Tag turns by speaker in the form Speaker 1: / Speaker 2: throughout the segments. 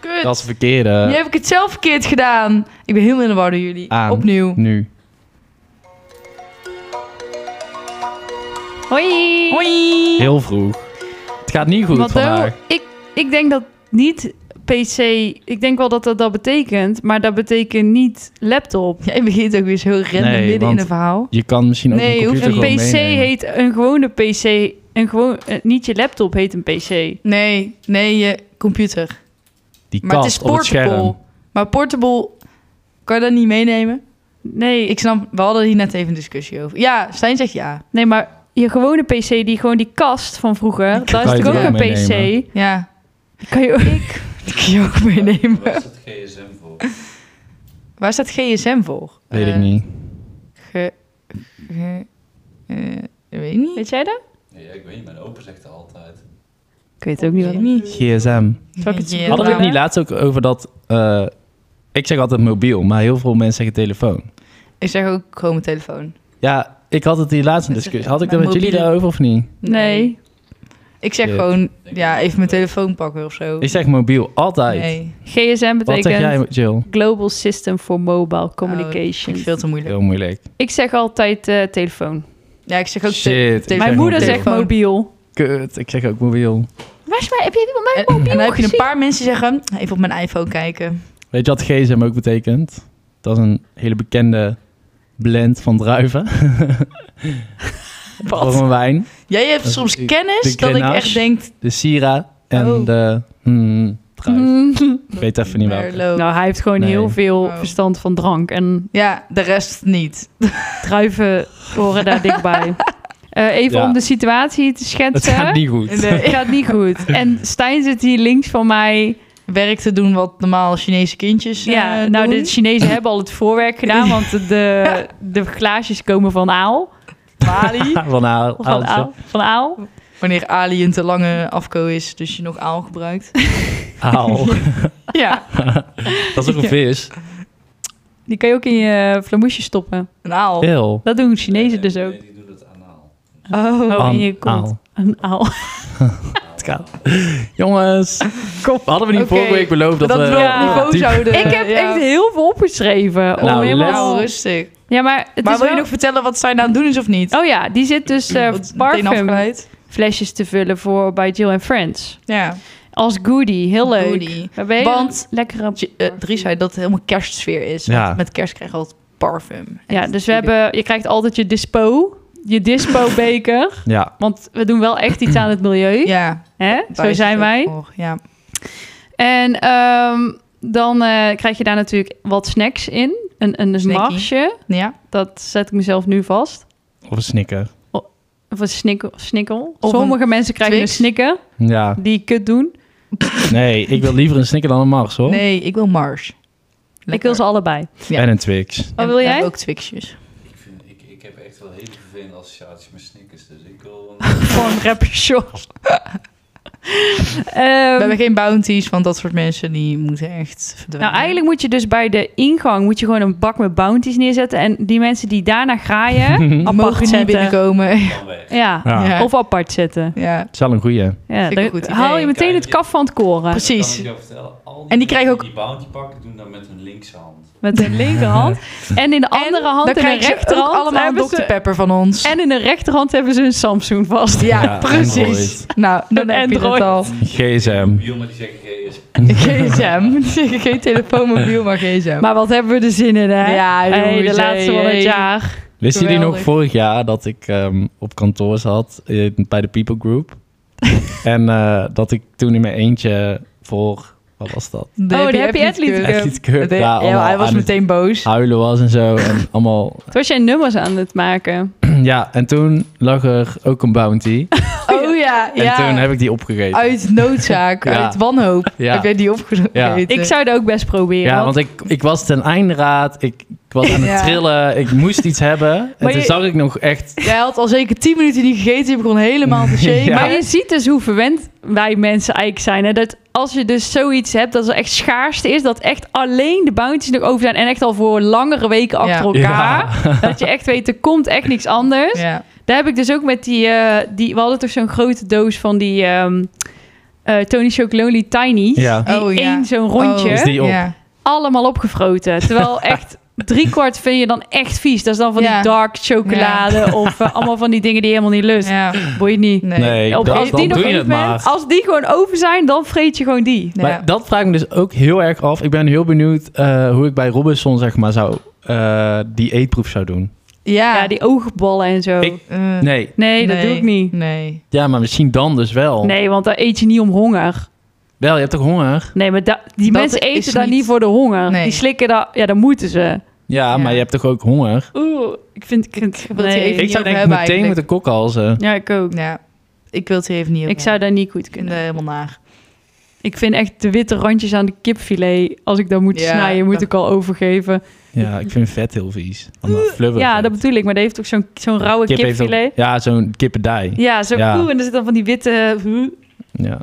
Speaker 1: het.
Speaker 2: Dat is eh, verkeerde.
Speaker 1: Nu heb ik het zelf verkeerd gedaan. Ik ben heel in de war door jullie.
Speaker 2: Aan.
Speaker 1: Opnieuw.
Speaker 2: Nu.
Speaker 3: Hoi.
Speaker 1: Hoi.
Speaker 2: Heel vroeg. Het gaat niet goed
Speaker 3: Mateo,
Speaker 2: vandaag.
Speaker 3: ik, ik denk dat niet PC... Ik denk wel dat dat dat betekent, maar dat betekent niet laptop.
Speaker 1: Jij begint ook weer zo random
Speaker 2: Nee,
Speaker 1: midden in
Speaker 2: want-
Speaker 1: een verhaal.
Speaker 2: Je kan misschien ook
Speaker 1: Nee,
Speaker 2: een
Speaker 1: hoeft
Speaker 2: computer
Speaker 3: Een
Speaker 2: gewoon
Speaker 3: PC
Speaker 2: meenemen.
Speaker 3: heet een gewone PC. Een gewoon, eh, niet je laptop heet een PC.
Speaker 1: Nee, nee, je computer.
Speaker 2: Die
Speaker 1: Maar het is
Speaker 2: kast op het
Speaker 1: portable.
Speaker 2: scherm.
Speaker 1: Maar portable, kan je dat niet meenemen?
Speaker 3: Nee,
Speaker 1: Ik snap, we hadden hier net even een discussie over. Ja, Stijn zegt ja.
Speaker 3: nee maar je gewone PC, die gewoon die kast van vroeger,
Speaker 2: kan
Speaker 3: dat is
Speaker 2: je
Speaker 3: toch ook
Speaker 2: er
Speaker 3: een
Speaker 2: ook mee
Speaker 3: PC?
Speaker 2: nemen.
Speaker 1: Ja,
Speaker 3: Die Kan je ook...
Speaker 1: die kun je ook meenemen.
Speaker 4: Waar staat GSM voor?
Speaker 1: Waar staat GSM voor?
Speaker 2: Weet ik
Speaker 1: Eh,
Speaker 2: niet.
Speaker 1: Ge, ge, eh, weet ik niet.
Speaker 3: Weet jij dat?
Speaker 4: Nee, ja, ik weet niet, mijn opa zegt dat altijd.
Speaker 3: Ik weet het ook niet.
Speaker 1: Weet ik
Speaker 3: hoor.
Speaker 1: niet.
Speaker 2: GSM.
Speaker 3: Zal ik het
Speaker 1: Ja,
Speaker 2: Hadden we het
Speaker 1: maar-
Speaker 2: niet laatst ook over dat... eh, ik zeg altijd mobiel, maar heel veel mensen zeggen telefoon.
Speaker 1: Ik zeg ook gewoon mijn telefoon.
Speaker 2: Ja, ik had het die laatste
Speaker 1: Dat
Speaker 2: discussie.
Speaker 1: is-
Speaker 2: Had ik dat
Speaker 1: mijn
Speaker 2: met jullie
Speaker 1: mobiele-
Speaker 2: daarover of niet?
Speaker 3: Nee.
Speaker 1: Ik zeg
Speaker 2: Shit.
Speaker 1: gewoon, ja, even mijn telefoon pakken of zo.
Speaker 2: Ik zeg mobiel, altijd.
Speaker 1: nee.
Speaker 3: GSM
Speaker 2: Wat
Speaker 3: betekent
Speaker 2: zeg jij, Jill?
Speaker 3: Global System for Mobile Communication.
Speaker 1: Vind Oh, ik veel te moeilijk.
Speaker 2: Heel moeilijk.
Speaker 3: Ik zeg altijd eh, telefoon.
Speaker 1: Ja, ik zeg ook
Speaker 2: Shit,
Speaker 1: te-
Speaker 2: ik zeg
Speaker 1: telefoon.
Speaker 3: Mijn moeder
Speaker 2: mobiel.
Speaker 3: zegt mobiel.
Speaker 2: Kut, ik zeg ook mobiel.
Speaker 3: Waar is mijn... Heb je iemand
Speaker 1: En,
Speaker 3: mijn
Speaker 1: en
Speaker 3: mobiel
Speaker 1: dan heb je een
Speaker 3: gezien?
Speaker 1: paar mensen die zeggen, even op mijn iPhone kijken.
Speaker 2: Weet je wat gsm ook betekent? Dat is een hele bekende blend van druiven. Voor een wijn.
Speaker 1: Jij hebt
Speaker 2: Dat is
Speaker 1: soms
Speaker 2: de-
Speaker 1: kennis
Speaker 2: de
Speaker 1: dat ik
Speaker 2: Grenache.
Speaker 1: echt denk,
Speaker 2: De Syrah en
Speaker 1: Oh.
Speaker 2: de hmm, druif.
Speaker 3: Mm.
Speaker 2: Ik weet even niet welke.
Speaker 1: Merlot.
Speaker 3: Nou, hij heeft gewoon
Speaker 2: Nee.
Speaker 3: heel veel
Speaker 1: Oh.
Speaker 3: verstand van drank. En
Speaker 1: Ja, de rest niet.
Speaker 3: druiven horen daar dichtbij. Eh even
Speaker 2: Ja.
Speaker 3: om de situatie te
Speaker 2: Het
Speaker 3: schetsen.
Speaker 2: gaat niet goed.
Speaker 1: Nee.
Speaker 3: Het gaat niet goed. En Stijn zit hier links van mij.
Speaker 1: Werk te doen wat normaal Chinese kindjes eh,
Speaker 3: Ja, nou,
Speaker 1: doen.
Speaker 3: de Chinezen hebben al het voorwerk gedaan, want de, de glaasjes komen van Aal.
Speaker 1: Bali.
Speaker 2: Ah, Van haar
Speaker 3: Of van Aal. Van Aal.
Speaker 1: Wanneer Ali een te lange afko is, dus je nog aal gebruikt.
Speaker 2: Aal.
Speaker 1: ja,
Speaker 2: Dat is ook een vis.
Speaker 3: Die kan je ook in je flamoesje stoppen.
Speaker 1: een aal.
Speaker 2: Heel.
Speaker 3: Dat doen Chinezen dus ook.
Speaker 4: Nee, die doen het anaal.
Speaker 1: Oh.
Speaker 3: Oh, in je
Speaker 2: Aan-
Speaker 3: kont.
Speaker 2: aal.
Speaker 3: Een aal.
Speaker 2: Het gaat. Jongens. Kom. Hadden we niet
Speaker 1: Oké.
Speaker 2: vorige week beloofd dat, eh,
Speaker 1: Dat we
Speaker 2: we...
Speaker 1: op niveau
Speaker 2: diep-
Speaker 1: zouden...
Speaker 3: Ik heb
Speaker 1: ja.
Speaker 3: echt heel veel opgeschreven. Om
Speaker 2: Nou,
Speaker 3: helemaal...
Speaker 1: Nou, rustig.
Speaker 3: Ja, maar het
Speaker 1: maar
Speaker 3: is
Speaker 1: wil
Speaker 3: wel-
Speaker 1: je nog vertellen wat zij nou aan het doen is of niet?
Speaker 3: Oh ja, die zit dus eh
Speaker 1: Wat meteen
Speaker 3: parfum
Speaker 1: afgeleid.
Speaker 3: flesjes te vullen voor bij Jill and Friends.
Speaker 1: Ja.
Speaker 3: Als goodie, heel leuk.
Speaker 1: Goodie.
Speaker 3: We hebben hele
Speaker 1: Want-
Speaker 3: lekkere...
Speaker 1: J- eh, Dries zei dat het helemaal kerstsfeer is.
Speaker 2: Ja.
Speaker 1: Want met kerst krijg je altijd parfum.
Speaker 3: Ja, dus we hebben... Je krijgt altijd je dispo, je dispo-beker.
Speaker 2: Ja.
Speaker 3: Want we doen wel echt iets aan het milieu.
Speaker 1: Ja,
Speaker 3: Hè?
Speaker 1: daar
Speaker 3: Zo
Speaker 1: is
Speaker 3: zijn
Speaker 1: het ook
Speaker 3: wij.
Speaker 1: voor, Ja.
Speaker 3: En ehm, dan eh, krijg je daar natuurlijk wat snacks in. Een, een
Speaker 1: Snackie.
Speaker 3: marsje.
Speaker 1: ja.
Speaker 3: Dat zet ik mezelf nu vast.
Speaker 2: Of een snikker.
Speaker 3: Of een snikkel. snikkel.
Speaker 1: Of
Speaker 3: Sommige mensen krijgen
Speaker 1: Twix.
Speaker 3: een snikken
Speaker 2: Ja.
Speaker 3: die kut doen.
Speaker 2: Nee, ik wil liever een snikker dan een Mars, hoor.
Speaker 1: Nee, ik wil Mars.
Speaker 3: Ik wil ze allebei.
Speaker 1: Ja.
Speaker 2: En een Twix.
Speaker 3: Wat wil jij? Ehm,
Speaker 1: Ook Twixjes.
Speaker 4: Ik, vind, ik, ik heb echt wel hele vervelende associaties met snickers, dus ik wil...
Speaker 3: Gewoon rapper short. Ehm,
Speaker 1: We hebben geen bounties, want dat soort mensen die moeten echt verdwijnen.
Speaker 3: nou, eigenlijk moet je dus bij de ingang moet je gewoon een bak met bounties neerzetten. En die mensen die daarna graaien, apart
Speaker 1: mogen niet
Speaker 3: zetten.
Speaker 1: binnenkomen.
Speaker 4: Dan weg.
Speaker 3: Ja.
Speaker 2: Ja.
Speaker 1: Ja.
Speaker 3: Of apart zetten.
Speaker 1: ja.
Speaker 2: Het is wel een goeie.
Speaker 3: Ja,
Speaker 1: Vind ik een
Speaker 3: dan
Speaker 1: goed
Speaker 3: haal
Speaker 1: idee.
Speaker 3: je meteen het kaf van het koren.
Speaker 1: Precies.
Speaker 4: Dat kan ik jou vertellen. Al
Speaker 1: En die krijgen
Speaker 4: mensen
Speaker 1: ook-
Speaker 4: Die bounty pakken doen dat met hun linkse hand.
Speaker 3: Met de linkerhand. En in de andere hand
Speaker 1: Dan
Speaker 3: en de
Speaker 1: krijgen ze ook
Speaker 3: rechterhand
Speaker 1: allemaal een
Speaker 3: hebben
Speaker 1: Dr.
Speaker 3: ze...
Speaker 1: Pepper van ons.
Speaker 3: En in de rechterhand hebben ze een Samsung vast.
Speaker 1: ja,
Speaker 2: Ja,
Speaker 1: precies.
Speaker 2: Android.
Speaker 1: Nou, dan
Speaker 3: Een
Speaker 1: heb je het
Speaker 3: Android.
Speaker 1: al.
Speaker 2: GSM.
Speaker 4: Wiel, maar die zeggen GSM.
Speaker 1: GSM. geen telefoon, mobiel, maar gsm.
Speaker 3: Maar wat hebben we er zin in, hè?
Speaker 1: Ja,
Speaker 3: hey, de
Speaker 1: jongens,
Speaker 3: laatste
Speaker 1: hey,
Speaker 3: van het
Speaker 1: hey.
Speaker 3: jaar.
Speaker 2: Wisten jullie nog
Speaker 1: Geweldig.
Speaker 2: vorig jaar dat ik ehm, op kantoor zat eh, bij de People Group? en eh, dat ik toen in mijn eentje voor, wat was dat?
Speaker 1: De
Speaker 3: Oh, de Happy Athlete
Speaker 1: Athlete
Speaker 3: Club.
Speaker 1: Club.
Speaker 2: Echt iets keur-
Speaker 1: De-
Speaker 2: daar allemaal
Speaker 1: ja, hij was
Speaker 2: aan Ah. het
Speaker 1: meteen boos.
Speaker 2: huilen was en zo. En allemaal,
Speaker 3: Toen was jij nummers aan het maken.
Speaker 2: ja, en toen lag er ook een bounty.
Speaker 1: Oh ja,
Speaker 2: En toen
Speaker 1: ja.
Speaker 2: heb ik die opgegeten.
Speaker 1: Uit noodzaak,
Speaker 2: Ja.
Speaker 1: uit wanhoop.
Speaker 2: Ja.
Speaker 1: Heb jij die opgegeten?
Speaker 2: Ja.
Speaker 3: Ik zou het ook best proberen.
Speaker 2: ja,
Speaker 3: want-
Speaker 2: want ik, ik was ten einde raad. Ik, ik was aan het
Speaker 1: Ja.
Speaker 2: trillen. Ik moest iets hebben. En
Speaker 3: Maar
Speaker 2: toen
Speaker 3: je-
Speaker 2: zag ik nog echt...
Speaker 1: Jij had al zeker 10 minuten niet gegeten. Je begon helemaal te shaken.
Speaker 2: Ja.
Speaker 3: Maar je ziet dus hoe verwend wij mensen eigenlijk zijn. Hè? Dat als je dus zoiets hebt dat er echt schaarste is, dat echt alleen de bounties nog over zijn en echt al voor langere weken
Speaker 1: Ja.
Speaker 3: achter elkaar. Dat je echt weet, er komt echt niks anders.
Speaker 1: Ja.
Speaker 3: Daar heb ik dus ook met die, eh, die we hadden toch zo'n grote doos van die ehm, eh, eh, Tony Chocolonely Tiny.
Speaker 2: Ja.
Speaker 3: Die
Speaker 1: Oh, ja.
Speaker 3: één zo'n rondje.
Speaker 2: Is die op?
Speaker 1: Ja.
Speaker 3: allemaal opgefroten. Terwijl echt driekwart vind je dan echt vies. Dat is dan van
Speaker 1: Ja.
Speaker 3: die dark chocolade of eh, allemaal van die dingen die je helemaal niet lust.
Speaker 1: ja.
Speaker 3: Boeit niet.
Speaker 1: Nee.
Speaker 2: Nee,
Speaker 3: Op-
Speaker 2: dat-
Speaker 3: als
Speaker 2: dan
Speaker 3: die
Speaker 2: doe
Speaker 3: nog
Speaker 2: je
Speaker 3: niet
Speaker 2: het
Speaker 3: bent,
Speaker 2: maar.
Speaker 3: als die gewoon over zijn, dan vreet je gewoon die.
Speaker 1: Ja.
Speaker 2: Maar dat vraag ik me dus ook heel erg af. Ik ben heel benieuwd eh, hoe ik bij Robinson zeg maar zou eh, die eetproef zou doen.
Speaker 1: ja.
Speaker 3: Ja, die oogballen en zo.
Speaker 2: Ik-
Speaker 1: Eh,
Speaker 2: Nee,
Speaker 3: nee, dat doe ik niet.
Speaker 1: Nee.
Speaker 2: ja, maar misschien dan dus wel.
Speaker 3: Nee, want daar eet je niet om honger.
Speaker 2: Wel, je hebt toch honger?
Speaker 3: Nee, maar da- die
Speaker 1: Dat
Speaker 3: mensen
Speaker 1: is
Speaker 3: eten daar
Speaker 1: niet-
Speaker 3: niet voor de honger.
Speaker 1: Nee.
Speaker 3: Die slikken daar... Ja, dan moeten ze.
Speaker 2: Ja,
Speaker 1: Ja.
Speaker 2: maar je hebt toch ook honger?
Speaker 3: Oeh, ik vind... Ik, vind-
Speaker 1: wil het hier
Speaker 3: nee.
Speaker 1: even-
Speaker 2: Ik zou
Speaker 1: over
Speaker 2: denk ik
Speaker 1: hebben
Speaker 2: meteen met de
Speaker 1: eigenlijk.
Speaker 2: kokhalzen.
Speaker 3: Ja, ik ook.
Speaker 1: Ja. Ik wil het hier even niet op
Speaker 3: Ik zou daar niet goed
Speaker 1: hebben. Ik vind
Speaker 3: kunnen.
Speaker 1: het helemaal naar.
Speaker 3: Ik vind echt de witte randjes aan de kipfilet, als ik dat moet
Speaker 1: Ja,
Speaker 3: snijden, moet
Speaker 1: dat-
Speaker 3: ik al overgeven.
Speaker 2: Ja, ik vind vet heel vies. Van dat flubber.
Speaker 3: Ja, dat bedoel ik, maar die heeft ook zo'n zo'n rauwe
Speaker 2: Kip heeft ook-
Speaker 3: kipfilet.
Speaker 2: ja, zo'n kippendij.
Speaker 3: Ja, zo
Speaker 2: Ja.
Speaker 3: oeh, en er zit dan van die witte...
Speaker 2: Ja.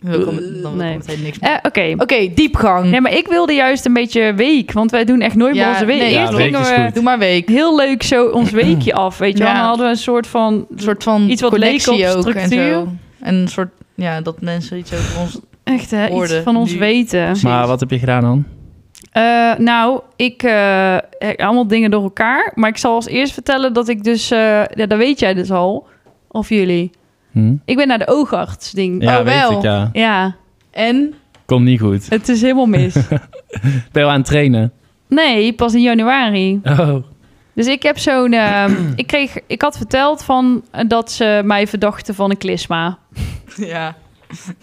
Speaker 1: Dan komt- dan
Speaker 3: Nee.
Speaker 1: komt meteen niks meer.
Speaker 3: Eh, Oké.
Speaker 1: Oké, diepgang.
Speaker 3: Nee, maar ik wilde juist een beetje week, want wij doen echt nooit
Speaker 1: Ja,
Speaker 3: meer onze week.
Speaker 1: nee,
Speaker 2: Ja,
Speaker 3: Eerst
Speaker 2: week
Speaker 3: gingen
Speaker 2: is
Speaker 3: we
Speaker 2: goed.
Speaker 1: Doe maar week.
Speaker 3: heel leuk zo ons weekje af, weet je wel.
Speaker 1: Ja.
Speaker 3: Dan hadden we een soort van...
Speaker 1: Een soort van
Speaker 3: Iets wat leek op
Speaker 1: connectie ook en
Speaker 3: structuur.
Speaker 1: zo. En een soort, ja, dat mensen iets over ons...
Speaker 3: Echt, hè, iets
Speaker 1: Orde,
Speaker 3: van ons
Speaker 1: nu.
Speaker 3: weten.
Speaker 2: Maar wat heb je gedaan dan?
Speaker 3: Eh, nou, ik eh, heb allemaal dingen door elkaar. Maar ik zal als eerst vertellen dat ik dus... eh, ja, dat weet jij dus al. Of jullie.
Speaker 2: Hm?
Speaker 3: Ik ben naar de oogarts ding.
Speaker 2: Ja,
Speaker 1: Oh,
Speaker 2: weet
Speaker 1: wel.
Speaker 2: ik, ja.
Speaker 3: Ja,
Speaker 1: En?
Speaker 2: Komt niet goed.
Speaker 3: het is helemaal mis.
Speaker 2: Ik ben wel aan het trainen.
Speaker 3: Nee, pas in januari.
Speaker 2: Oh.
Speaker 3: Dus ik heb zo'n... ehm, ik, kreeg, ik had verteld van, eh, dat ze mij verdachten van een klisma.
Speaker 1: Ja.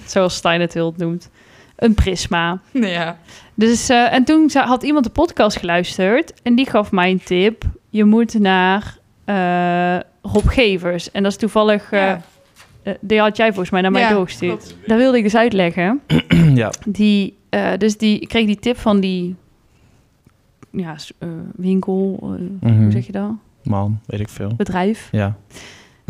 Speaker 3: Zoals Stijn het heel noemt. Een prisma.
Speaker 1: Ja.
Speaker 3: Dus, eh, en toen za- had iemand de podcast geluisterd. En die gaf mij een tip. Je moet naar eh, Rob Gevers. En dat is toevallig... eh,
Speaker 1: Ja.
Speaker 3: eh, die had jij volgens mij naar mij
Speaker 1: Ja,
Speaker 3: doorgestuurd.
Speaker 1: klopt.
Speaker 3: Dat wilde ik dus uitleggen.
Speaker 2: ja.
Speaker 3: Die, eh, dus die, ik kreeg die tip van die ja, s- eh, winkel, eh,
Speaker 2: Mhm.
Speaker 3: hoe zeg je dat?
Speaker 2: Man, weet ik veel.
Speaker 3: Bedrijf.
Speaker 2: Ja.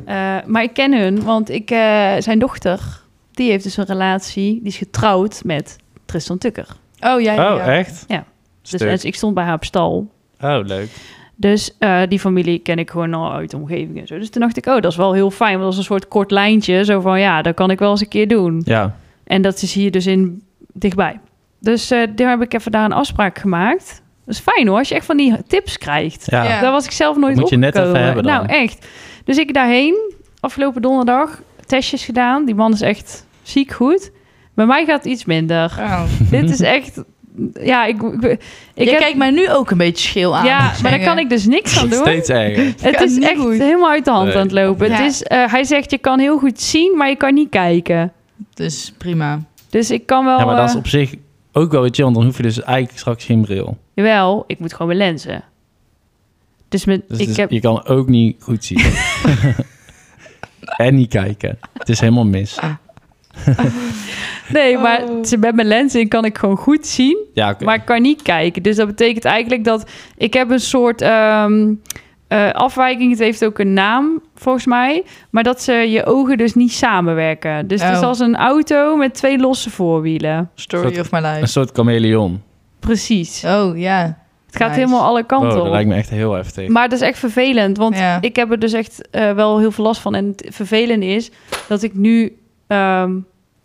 Speaker 3: Eh, maar ik ken hun, want ik, eh, zijn dochter, die heeft dus een relatie. Die is getrouwd met Tristan Tukker.
Speaker 1: Oh, ja, ja,
Speaker 2: Oh,
Speaker 1: ja.
Speaker 2: echt?
Speaker 3: Ja. Dus,
Speaker 2: Stuk.
Speaker 3: en ik stond bij haar op stal.
Speaker 2: Oh, leuk.
Speaker 3: Dus eh, die familie ken ik gewoon al uit de omgeving en zo. Dus toen dacht ik, oh, dat is wel heel fijn. Want dat is een soort kort lijntje. Zo van, ja, dat kan ik wel eens een keer doen.
Speaker 2: Ja.
Speaker 3: En dat is hier dus in dichtbij. Dus eh, daar heb ik even daar een afspraak gemaakt. Dat is fijn hoor, als je echt van die tips krijgt.
Speaker 2: Ja.
Speaker 1: Ja.
Speaker 3: Daar was ik zelf nooit
Speaker 2: Dat moet je net
Speaker 3: opgekomen.
Speaker 2: even hebben dan.
Speaker 3: Nou, echt. Dus ik daarheen, afgelopen donderdag, testjes gedaan. Die man is echt ziek goed. Bij mij gaat het iets minder.
Speaker 1: Oh.
Speaker 3: Dit is echt... Ja, ik... ik, ik
Speaker 1: Jij
Speaker 3: heb-
Speaker 1: kijkt mij nu ook een beetje scheel aan.
Speaker 3: Ja, maar daar
Speaker 1: dan
Speaker 3: kan ik dus niks aan doen.
Speaker 2: Steeds erger.
Speaker 3: Het
Speaker 1: Ja,
Speaker 3: is
Speaker 1: niet
Speaker 3: echt
Speaker 1: goed.
Speaker 3: helemaal uit de hand
Speaker 2: Nee.
Speaker 3: aan het lopen.
Speaker 1: Ja.
Speaker 3: Het is, eh, hij zegt, je kan heel goed zien, maar je kan niet kijken.
Speaker 1: Dus prima.
Speaker 3: Dus ik kan wel...
Speaker 2: Ja, maar
Speaker 1: Oh,
Speaker 2: dat is
Speaker 3: eh,
Speaker 2: op zich ook wel weer chill. Want dan hoef je dus eigenlijk straks geen bril.
Speaker 3: Jawel, ik moet gewoon mijn lenzen. Dus, met,
Speaker 2: Dus
Speaker 3: ik
Speaker 2: het is-
Speaker 3: heb,
Speaker 2: je kan ook niet goed zien. en niet kijken. Het is helemaal mis.
Speaker 3: nee, maar
Speaker 1: Oh.
Speaker 3: ze- met mijn lenzen in kan ik gewoon goed zien,
Speaker 2: Ja, oké.
Speaker 3: maar ik kan niet kijken. Dus dat betekent eigenlijk dat ik heb een soort ehm, eh, afwijking. Het heeft ook een naam, volgens mij. Maar dat ze je ogen dus niet samenwerken. Dus het is
Speaker 1: Oh.
Speaker 3: als een auto met twee losse voorwielen.
Speaker 1: Story
Speaker 2: Soort-
Speaker 1: of my
Speaker 2: een
Speaker 1: life.
Speaker 2: soort chameleon.
Speaker 3: Precies.
Speaker 1: Oh, ja.
Speaker 3: het gaat
Speaker 1: nice.
Speaker 3: helemaal alle
Speaker 2: Oh,
Speaker 3: kanten
Speaker 2: dat
Speaker 3: op.
Speaker 2: lijkt me echt heel heftig.
Speaker 3: Maar dat is echt vervelend, want
Speaker 1: Ja.
Speaker 3: ik heb er dus echt eh, wel heel veel last van. En het vervelende is dat ik nu ehm,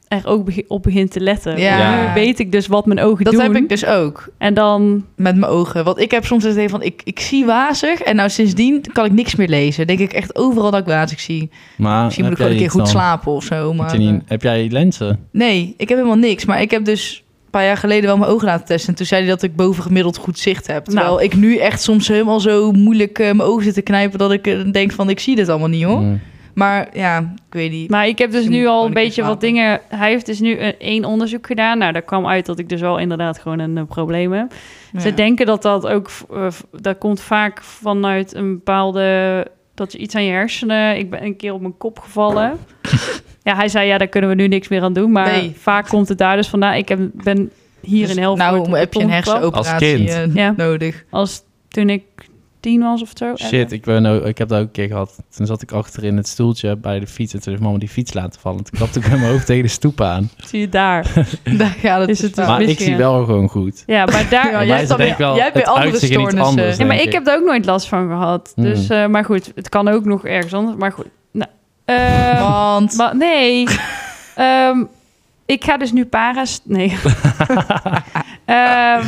Speaker 3: er ook begi- op begin te letten.
Speaker 1: Ja.
Speaker 3: Want Nu weet ik dus wat mijn ogen
Speaker 1: Dat
Speaker 3: doen.
Speaker 1: heb ik dus ook.
Speaker 3: En dan,
Speaker 1: Met mijn ogen. Want ik heb soms het idee van, ik, ik zie wazig. En nou, sindsdien kan ik niks meer lezen. Denk ik echt overal dat ik wazig zie.
Speaker 2: Maar
Speaker 1: Misschien moet ik
Speaker 2: heb
Speaker 1: gewoon een
Speaker 2: jij
Speaker 1: keer goed
Speaker 2: iets dan?
Speaker 1: slapen of zo. Maar, eh,
Speaker 2: Heb je niet- Heb jij lenzen?
Speaker 1: Nee, ik heb helemaal niks. Maar ik heb dus een paar jaar geleden wel mijn ogen laten testen. En toen zei hij dat ik bovengemiddeld goed zicht heb. Terwijl
Speaker 3: Nou.
Speaker 1: ik nu echt soms helemaal zo moeilijk eh, mijn ogen zit te knijpen... dat ik eh, denk van, ik zie dit allemaal niet, hoor.
Speaker 2: Hm.
Speaker 1: Maar ja, ik weet niet.
Speaker 3: maar ik heb dus
Speaker 1: Je moet
Speaker 3: nu al
Speaker 1: gewoon
Speaker 3: een
Speaker 1: een keer
Speaker 3: beetje wat
Speaker 1: slapen.
Speaker 3: dingen. Hij heeft dus nu een, één onderzoek gedaan. Nou, daar kwam uit dat ik dus wel inderdaad gewoon een eh, probleem heb. Ze
Speaker 1: Ja.
Speaker 3: denken dat dat ook, eh, v- dat komt vaak vanuit een bepaalde, dat je iets aan je hersenen, ik ben een keer op mijn kop gevallen. ja, hij zei, ja, daar kunnen we nu niks meer aan doen, maar
Speaker 1: Nee.
Speaker 3: vaak komt het daar dus vandaan. Ik heb, ben hier
Speaker 1: Dus
Speaker 3: in Helft
Speaker 1: Nou heb je een hersenoperatie
Speaker 2: Als kind.
Speaker 1: eh,
Speaker 3: Ja.
Speaker 1: nodig.
Speaker 3: Als toen ik tien was of zo. eh,
Speaker 2: Shit, ik, ben, ook- ik heb dat ook een keer gehad. Toen zat ik achter in het stoeltje bij de fiets. En toen heeft mama die fiets laten vallen. Toen klapte ik met mijn hoofd tegen de stoep aan.
Speaker 3: Zie je daar.
Speaker 1: Daar gaat het
Speaker 3: Is
Speaker 1: dus
Speaker 3: het dus
Speaker 1: fout.
Speaker 2: Maar ik
Speaker 3: misschien,
Speaker 2: zie
Speaker 3: ja.
Speaker 2: wel gewoon goed.
Speaker 3: Ja, maar daar...
Speaker 1: Ja, Nou,
Speaker 2: Maar
Speaker 1: jij
Speaker 2: mij is
Speaker 1: hebt
Speaker 2: het
Speaker 1: dan
Speaker 2: denk ik wel
Speaker 1: weer- jij hebt weer
Speaker 2: het
Speaker 1: andere
Speaker 2: uitzicht in iets
Speaker 1: stoornissen.
Speaker 2: anders.
Speaker 3: Ja, maar
Speaker 2: denk
Speaker 3: ik heb daar ook nooit last van gehad.
Speaker 2: Hmm.
Speaker 3: Dus, eh, maar goed, het kan ook nog ergens anders. Maar goed, nou. eh,
Speaker 1: Want...
Speaker 3: Maar nee. Ehm, Ik ga dus nu para's... Nee. Ehm,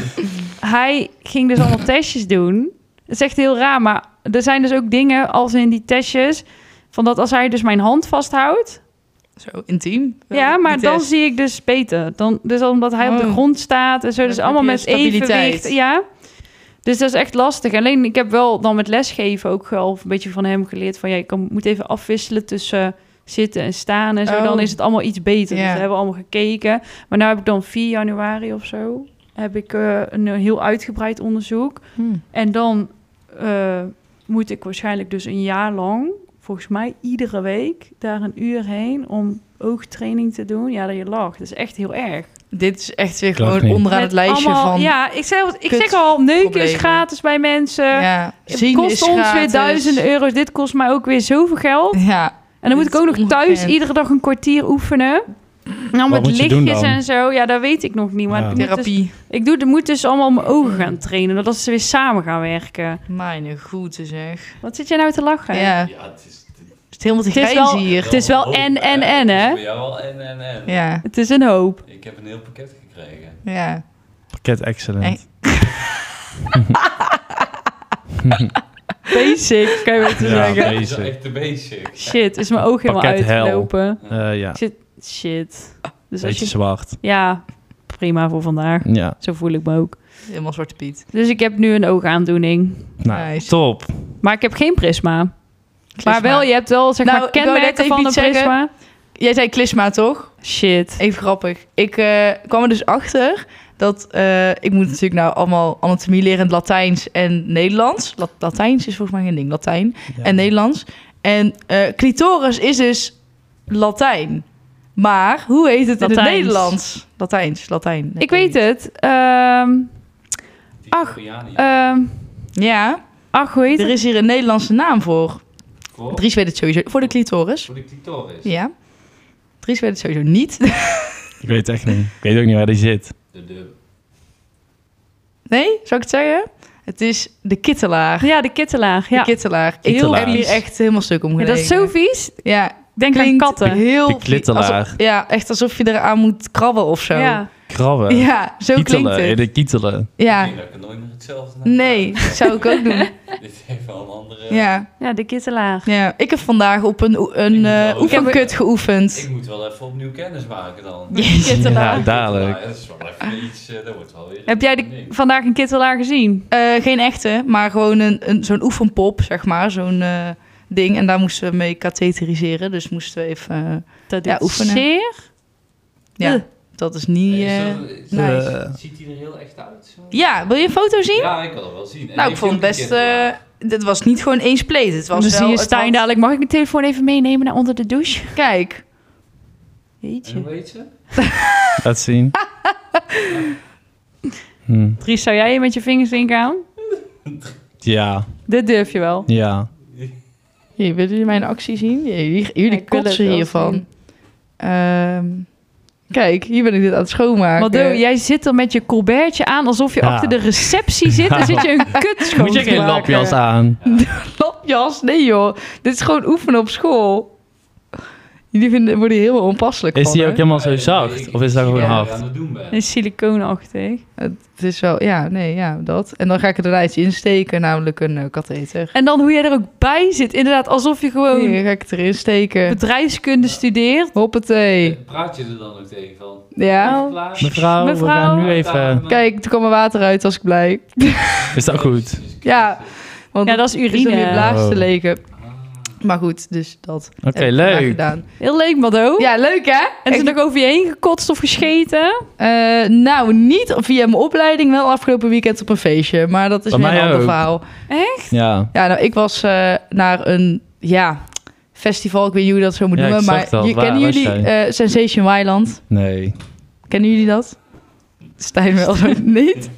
Speaker 3: hij ging dus allemaal testjes doen. Het is echt heel raar, maar er zijn dus ook dingen als in die testjes... van dat als hij dus mijn hand vasthoudt...
Speaker 1: Zo intiem. eh,
Speaker 3: ja,
Speaker 1: Die
Speaker 3: maar dan
Speaker 1: test.
Speaker 3: zie ik dus beter. Dan, dus omdat hij op de
Speaker 1: Oh.
Speaker 3: grond staat en zo. Dus
Speaker 1: Dan
Speaker 3: allemaal
Speaker 1: heb
Speaker 3: met
Speaker 1: je stabiliteit.
Speaker 3: evenwicht. Ja. Dus dat is echt lastig. Alleen ik heb wel dan met lesgeven ook al een beetje van hem geleerd... van ja, je kan, moet even afwisselen tussen zitten en staan en zo.
Speaker 1: Oh.
Speaker 3: Dan is het allemaal iets beter. Dus
Speaker 1: Ja.
Speaker 3: we hebben allemaal gekeken. Maar nu heb ik dan 4 januari of zo... heb ik eh, een heel uitgebreid onderzoek.
Speaker 1: Hm.
Speaker 3: En dan eh, moet ik waarschijnlijk dus een jaar lang, volgens mij iedere week, daar een uur heen om oogtraining te doen. Ja, dat je lacht. Dat is echt heel erg.
Speaker 1: Dit is echt weer
Speaker 2: Klopt
Speaker 1: gewoon
Speaker 2: niet.
Speaker 1: onderaan
Speaker 3: Met
Speaker 1: het lijstje
Speaker 3: allemaal-
Speaker 1: van...
Speaker 3: Ja, ik zeg, ik zeg
Speaker 1: kut
Speaker 3: al, neuken is
Speaker 1: problemen.
Speaker 3: gratis bij mensen.
Speaker 1: ja,
Speaker 3: eh, Het
Speaker 1: zien
Speaker 3: kost
Speaker 1: is
Speaker 3: ons weer
Speaker 1: gratis.
Speaker 3: duizenden euro's. Dit kost mij ook weer zoveel geld.
Speaker 1: Ja,
Speaker 3: En dan moet
Speaker 1: Dit
Speaker 3: ik ook nog
Speaker 1: is
Speaker 3: thuis
Speaker 1: ongekend.
Speaker 3: iedere dag een kwartier oefenen. Nou, met
Speaker 2: moet je doen
Speaker 3: lichtjes
Speaker 2: dan?
Speaker 3: en zo. Ja, dat weet ik nog niet. Maar
Speaker 2: Ja.
Speaker 3: ik, moet dus,
Speaker 1: therapie.
Speaker 3: ik doe, moet dus allemaal mijn ogen gaan trainen. Doordat ze weer samen gaan werken.
Speaker 1: Mijn goede zeg.
Speaker 3: Wat zit jij nou te lachen?
Speaker 1: Ja,
Speaker 4: Ja, het is...
Speaker 1: het is helemaal te
Speaker 3: Het is
Speaker 1: grijs
Speaker 3: wel-
Speaker 1: hier.
Speaker 3: Het is wel
Speaker 4: hoop,
Speaker 3: en, en, en,
Speaker 4: Het is
Speaker 3: hè?
Speaker 4: Bij jou al en, en, en.
Speaker 1: Ja,
Speaker 3: Het is een hoop.
Speaker 4: Ik heb een heel pakket gekregen.
Speaker 1: ja.
Speaker 2: Pakket excellent.
Speaker 1: Hey.
Speaker 3: Basic, kan je wel te
Speaker 2: Ja,
Speaker 3: zeggen.
Speaker 4: Dat is
Speaker 2: basic.
Speaker 4: echt de basic.
Speaker 3: Shit, is mijn oog helemaal
Speaker 2: Pakket hel.
Speaker 3: uitgelopen.
Speaker 2: Eh, ja,
Speaker 3: Shit. Dus als
Speaker 2: beetje
Speaker 3: je...
Speaker 2: zwart.
Speaker 3: Ja, prima voor vandaag.
Speaker 2: Ja,
Speaker 3: Zo voel ik me ook.
Speaker 1: Helemaal Zwarte Piet.
Speaker 3: Dus ik heb nu een oogaandoening.
Speaker 2: nou,
Speaker 1: Nice.
Speaker 2: top.
Speaker 3: Maar ik heb geen prisma.
Speaker 1: Klisma.
Speaker 3: Maar wel, je hebt wel zeg
Speaker 1: Nou,
Speaker 3: maar
Speaker 1: ik wou net
Speaker 3: kenmerken
Speaker 1: even
Speaker 3: van een
Speaker 1: iets zeggen.
Speaker 3: prisma.
Speaker 1: Jij zei klisma, toch?
Speaker 3: Shit.
Speaker 1: Even grappig. Ik eh, kwam er dus achter dat eh, ik moet natuurlijk nou allemaal anatomie leren in het Latijns en Nederlands. La- Latijns is volgens mij geen ding, Latijn
Speaker 2: Ja.
Speaker 1: en Nederlands. En eh, clitoris is dus Latijn. Maar hoe heet het in het
Speaker 3: Latijns.
Speaker 1: Nederlands? Latijns, Latijn.
Speaker 3: Ik weet het. Ehm
Speaker 4: Die
Speaker 3: Ach,
Speaker 1: eh,
Speaker 4: Koreani.
Speaker 3: ehm,
Speaker 1: Ja,
Speaker 3: ach, hoe heet
Speaker 1: er
Speaker 3: het?
Speaker 1: is hier een Nederlandse naam voor.
Speaker 4: Voor?
Speaker 1: Dries weet het sowieso. Voor de clitoris.
Speaker 4: Voor de clitoris.
Speaker 1: Ja. Dus Dries weet het sowieso niet.
Speaker 2: Ik weet het echt niet. Ik weet ook niet waar die zit.
Speaker 4: De, de,
Speaker 1: Nee, zou ik het zeggen? Het is de kittelaar.
Speaker 3: Ja, de kittelaar. Ja.
Speaker 1: De kittelaar.
Speaker 2: Kittelaar.
Speaker 1: Ik heb hier echt helemaal stuk om
Speaker 3: Ja,
Speaker 1: gelegen.
Speaker 3: dat is zo vies. Ik
Speaker 1: Ja,
Speaker 3: denk aan
Speaker 1: klinkt
Speaker 3: katten.
Speaker 1: heel...
Speaker 2: De klittelaar.
Speaker 1: alsof- ja, echt alsof je eraan moet krabben of zo.
Speaker 3: Ja.
Speaker 2: Krabben.
Speaker 1: Ja, zo
Speaker 2: kietelen.
Speaker 1: klinkt het.
Speaker 2: De kietelen.
Speaker 4: Ik
Speaker 1: Ja.
Speaker 4: denk dat ik er nooit meer hetzelfde naam
Speaker 1: Nee, zou ik ook doen.
Speaker 4: heb. Dit heeft wel een andere...
Speaker 1: Ja.
Speaker 3: ja, de kittelaar.
Speaker 1: ja. Ik heb vandaag op een, oe- een eh,
Speaker 4: Ik moet wel-
Speaker 1: oefenkut geoefend.
Speaker 4: Ik moet wel even opnieuw kennis maken dan.
Speaker 2: Ja,
Speaker 3: Kittelaar.
Speaker 2: dadelijk.
Speaker 4: Ja, dat is wel even iets... eh, dat wordt wel weer...
Speaker 3: Heb jij de-
Speaker 4: Nee.
Speaker 3: vandaag een kittelaar gezien?
Speaker 1: Eh, geen echte, maar gewoon een, een, zo'n oefenpop, zeg maar. Zo'n eh, ding. En daar moesten we mee katheteriseren. Dus moesten we even... eh,
Speaker 3: Dat
Speaker 1: Ja,
Speaker 3: doet
Speaker 1: oefenen.
Speaker 3: zeer.
Speaker 1: ja,
Speaker 3: Ugh.
Speaker 1: dat is niet...
Speaker 4: Hey,
Speaker 1: eh,
Speaker 4: zo- is-
Speaker 1: nice.
Speaker 2: Eh,
Speaker 4: Ziet hij er heel echt uit? Zo?
Speaker 1: Ja, wil je een foto zien?
Speaker 4: Ja, ik wil het wel zien. En
Speaker 1: nou, ik
Speaker 4: heeft
Speaker 1: vond het
Speaker 4: hij ook een
Speaker 1: best...
Speaker 4: keer
Speaker 1: eh dit was niet gewoon één spleet. Het was
Speaker 3: Dan
Speaker 1: wel...
Speaker 3: zie je
Speaker 1: het
Speaker 3: Stijn
Speaker 1: had-
Speaker 3: dadelijk. Mag ik mijn telefoon even meenemen naar onder de douche?
Speaker 1: Kijk.
Speaker 4: gedaan. En
Speaker 3: Jeetje.
Speaker 4: hoe heet ze?
Speaker 2: Laat zien. Hm.
Speaker 3: Dries, zou jij je met je vingers ingaan?
Speaker 2: Ja,
Speaker 3: Dit durf je wel.
Speaker 2: ja.
Speaker 1: Hier, willen jullie mijn actie zien? Jullie, jullie
Speaker 3: Ik wil het
Speaker 1: kotsen
Speaker 3: wel
Speaker 1: hiervan.
Speaker 3: zien.
Speaker 1: Ehm, kijk, hier ben ik dit aan het schoonmaken.
Speaker 3: Maldo, jij zit er met je colbertje aan alsof je
Speaker 2: eh, Ja.
Speaker 3: achter de receptie zit en zit je een kut schoon
Speaker 2: Moet je
Speaker 3: te
Speaker 2: geen
Speaker 3: maken.
Speaker 2: lapjas aan?
Speaker 1: Lapjas? Nee joh, dit is gewoon oefenen op school. Jullie vinden, worden hier helemaal onpasselijk
Speaker 2: Is
Speaker 1: van,
Speaker 2: die ook
Speaker 1: hè?
Speaker 2: helemaal zo
Speaker 4: Eh,
Speaker 2: zacht?
Speaker 4: ik-
Speaker 2: Of is dat
Speaker 4: ik
Speaker 2: gewoon
Speaker 4: zie wat
Speaker 2: hard?
Speaker 4: je aan het doen bent.
Speaker 3: Dit is siliconenachtig.
Speaker 1: Het is wel, ja, nee, ja, dat. En dan ga ik er daarna iets insteken, namelijk een eh, katheter.
Speaker 3: En dan hoe jij er ook bij zit. Inderdaad, alsof je gewoon
Speaker 1: Hier ga ik het erin steken.
Speaker 3: bedrijfskunde studeert.
Speaker 1: Hoppatee.
Speaker 4: Eh, Praat je er dan ook tegen van?
Speaker 1: Ja.
Speaker 3: Nou,
Speaker 4: Klaar?
Speaker 2: Mevrouw, we
Speaker 3: Mevrouw.
Speaker 2: gaan nu even...
Speaker 1: Kijk, er kwam mijn water uit, was ik blij.
Speaker 2: Is dat
Speaker 4: Dus,
Speaker 2: goed?
Speaker 1: Ja. Want
Speaker 3: Ja, dat is
Speaker 1: is om je
Speaker 3: urine. Ah.
Speaker 1: blaas te
Speaker 2: Oh.
Speaker 1: legen. Maar goed, dus dat.
Speaker 2: Oké,
Speaker 1: heb ik vandaag
Speaker 2: leuk.
Speaker 1: gedaan.
Speaker 3: Heel leuk, Maldo.
Speaker 1: Ja, leuk hè?
Speaker 3: En
Speaker 1: Echt-
Speaker 3: toen ook over je heen gekotst of gescheten.
Speaker 1: Eh, nou, niet via mijn opleiding, wel afgelopen weekend op een feestje. Maar dat is
Speaker 2: Bij
Speaker 1: weer een
Speaker 2: mij
Speaker 1: ander
Speaker 2: ook.
Speaker 1: verhaal.
Speaker 2: Ja.
Speaker 1: Ja, nou, ik was eh, naar een, ja, festival. Ik weet niet hoe je dat zo moet
Speaker 2: Ja, ik
Speaker 1: noemen.
Speaker 2: zag
Speaker 1: Maar
Speaker 2: dat.
Speaker 1: je,
Speaker 2: Waar
Speaker 1: kennen
Speaker 2: was
Speaker 1: jullie eh, Sensation Wyland?
Speaker 2: Nee.
Speaker 1: Kennen jullie dat? Stijn wel zo niet?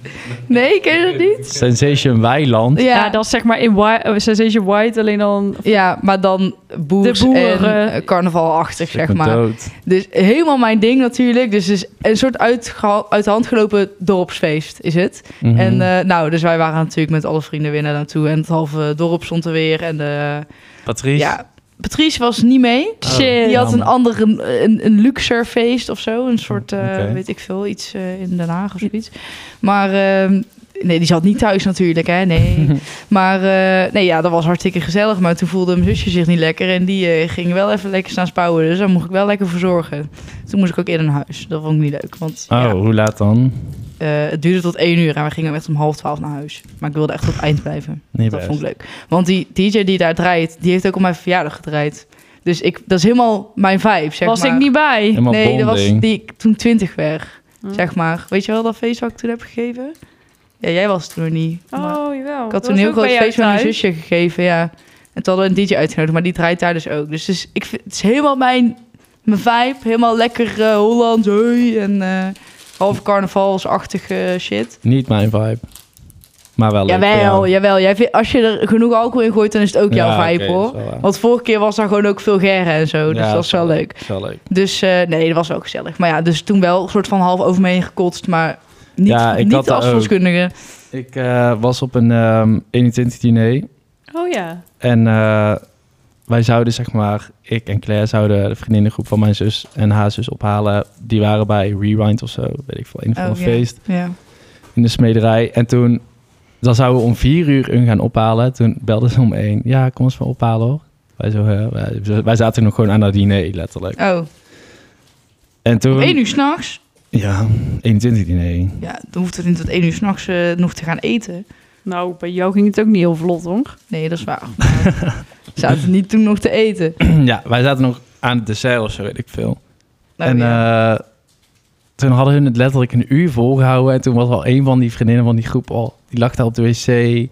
Speaker 1: Nee, ken je dat niet?
Speaker 2: Sensation Weiland.
Speaker 3: Ja,
Speaker 1: Ja,
Speaker 3: dat is zeg maar in Wi- eh, Sensation White alleen dan...
Speaker 1: ja maar dan boers
Speaker 3: De boeren.
Speaker 1: en eh, carnavalachtig,
Speaker 2: Ik
Speaker 1: zeg
Speaker 2: ben
Speaker 1: maar.
Speaker 2: dood.
Speaker 1: Dus helemaal mijn ding natuurlijk. Dus het is een soort uitgeha- uit de hand gelopen dorpsfeest is het.
Speaker 2: Mhm.
Speaker 1: En eh, nou, dus wij waren natuurlijk met alle vrienden weer naar naartoe. En het halve dorp stond er weer. En eh,
Speaker 2: Patrice?
Speaker 1: ja, Patrice was niet mee.
Speaker 3: Shit.
Speaker 1: Die had een
Speaker 2: Jammer.
Speaker 1: andere, een, een luxer feest of zo. Een soort, eh,
Speaker 2: Oké.
Speaker 1: weet ik veel, iets eh, in Den Haag of zoiets. Maar ehm, nee, die zat niet thuis natuurlijk, hè, nee. maar eh, nee, ja, dat was hartstikke gezellig. Maar toen voelde mijn zusje zich niet lekker en die eh, ging wel even lekker staan spouwen. Dus daar moest ik wel lekker voor zorgen. Toen moest ik ook in een huis. Dat vond ik niet leuk, want
Speaker 2: Oh,
Speaker 1: ja,
Speaker 2: hoe laat dan?
Speaker 1: eh, het duurde tot één uur en we gingen echt om half twaalf naar huis. Maar ik wilde echt tot het eind blijven.
Speaker 2: Nee,
Speaker 1: Dat
Speaker 2: best.
Speaker 1: vond ik leuk. Want die DJ die daar draait, die heeft ook op mijn verjaardag gedraaid. Dus ik, dat is helemaal mijn vibe, zeg
Speaker 3: Was
Speaker 1: maar.
Speaker 3: ik niet bij.
Speaker 2: Helemaal
Speaker 1: Nee, dat was
Speaker 2: bonding.
Speaker 1: die ik toen twintig werd,
Speaker 3: Hm.
Speaker 1: zeg maar. Weet je wel dat feest wat ik toen heb gegeven? Ja, jij was toen nog niet. maar
Speaker 3: Oh, jawel.
Speaker 1: ik had toen een heel groot feest met mijn zusje gegeven, ja. En toen hadden we een DJ uitgenodigd, maar die draait daar dus ook. Dus, het is- ik vind, het is helemaal mijn, mijn vibe. Helemaal lekker eh, Hollands, hey, en eh half carnavalsachtige shit.
Speaker 2: Niet mijn vibe. Maar wel leuk.
Speaker 1: Jawel,
Speaker 2: voor jou.
Speaker 1: jawel. Jij vindt, als je er genoeg alcohol in gooit, dan is het ook jouw
Speaker 2: Ja,
Speaker 1: vibe
Speaker 2: oké,
Speaker 1: hoor.
Speaker 2: dat is wel waar.
Speaker 1: Want vorige keer was daar gewoon ook veel gerren en zo. Dus
Speaker 2: Ja,
Speaker 1: dat is wel leuk.
Speaker 2: Dat is wel leuk.
Speaker 1: Dus eh, nee, dat was ook gezellig. Maar ja, dus toen wel een soort van half over me heen gekotst. Maar niet,
Speaker 2: Ja, ik had eh,
Speaker 1: niet
Speaker 2: dat
Speaker 1: als
Speaker 2: ook.
Speaker 1: verloskundige.
Speaker 2: Ik eh, was op een ehm 21 diner.
Speaker 3: Oh ja.
Speaker 2: En eh, wij zouden, zeg maar, ik en Claire zouden de vriendinnengroep van mijn zus en haar zus ophalen. Die waren bij Rewind of zo, weet ik veel, een of
Speaker 1: Oh,
Speaker 2: ander
Speaker 1: ja.
Speaker 2: feest
Speaker 1: Ja.
Speaker 2: in de smederij. En toen, dan zouden we om vier uur hun gaan ophalen. Toen belden ze om één. Ja, kom eens maar ophalen hoor. Wij, zo, hè, wij, wij zaten nog gewoon aan dat diner, letterlijk.
Speaker 1: Oh,
Speaker 2: En
Speaker 1: om
Speaker 2: toen...
Speaker 1: één uur s'nachts?
Speaker 2: Ja, 21 diner.
Speaker 1: Ja, dan hoeft het niet tot één uur s'nachts eh nog te gaan eten.
Speaker 3: Nou, bij jou ging het ook niet heel vlot, hoor.
Speaker 1: Nee, dat is waar. Maar we Zaten niet toen nog te eten.
Speaker 2: ja, wij zaten nog aan het dessert of zo, weet ik veel.
Speaker 1: Nou,
Speaker 2: en
Speaker 1: ja.
Speaker 2: eh, toen hadden hun het letterlijk een uur volgehouden. En toen was al een van die vriendinnen van die groep al. Die lag daar op de wc.
Speaker 1: oh, nice.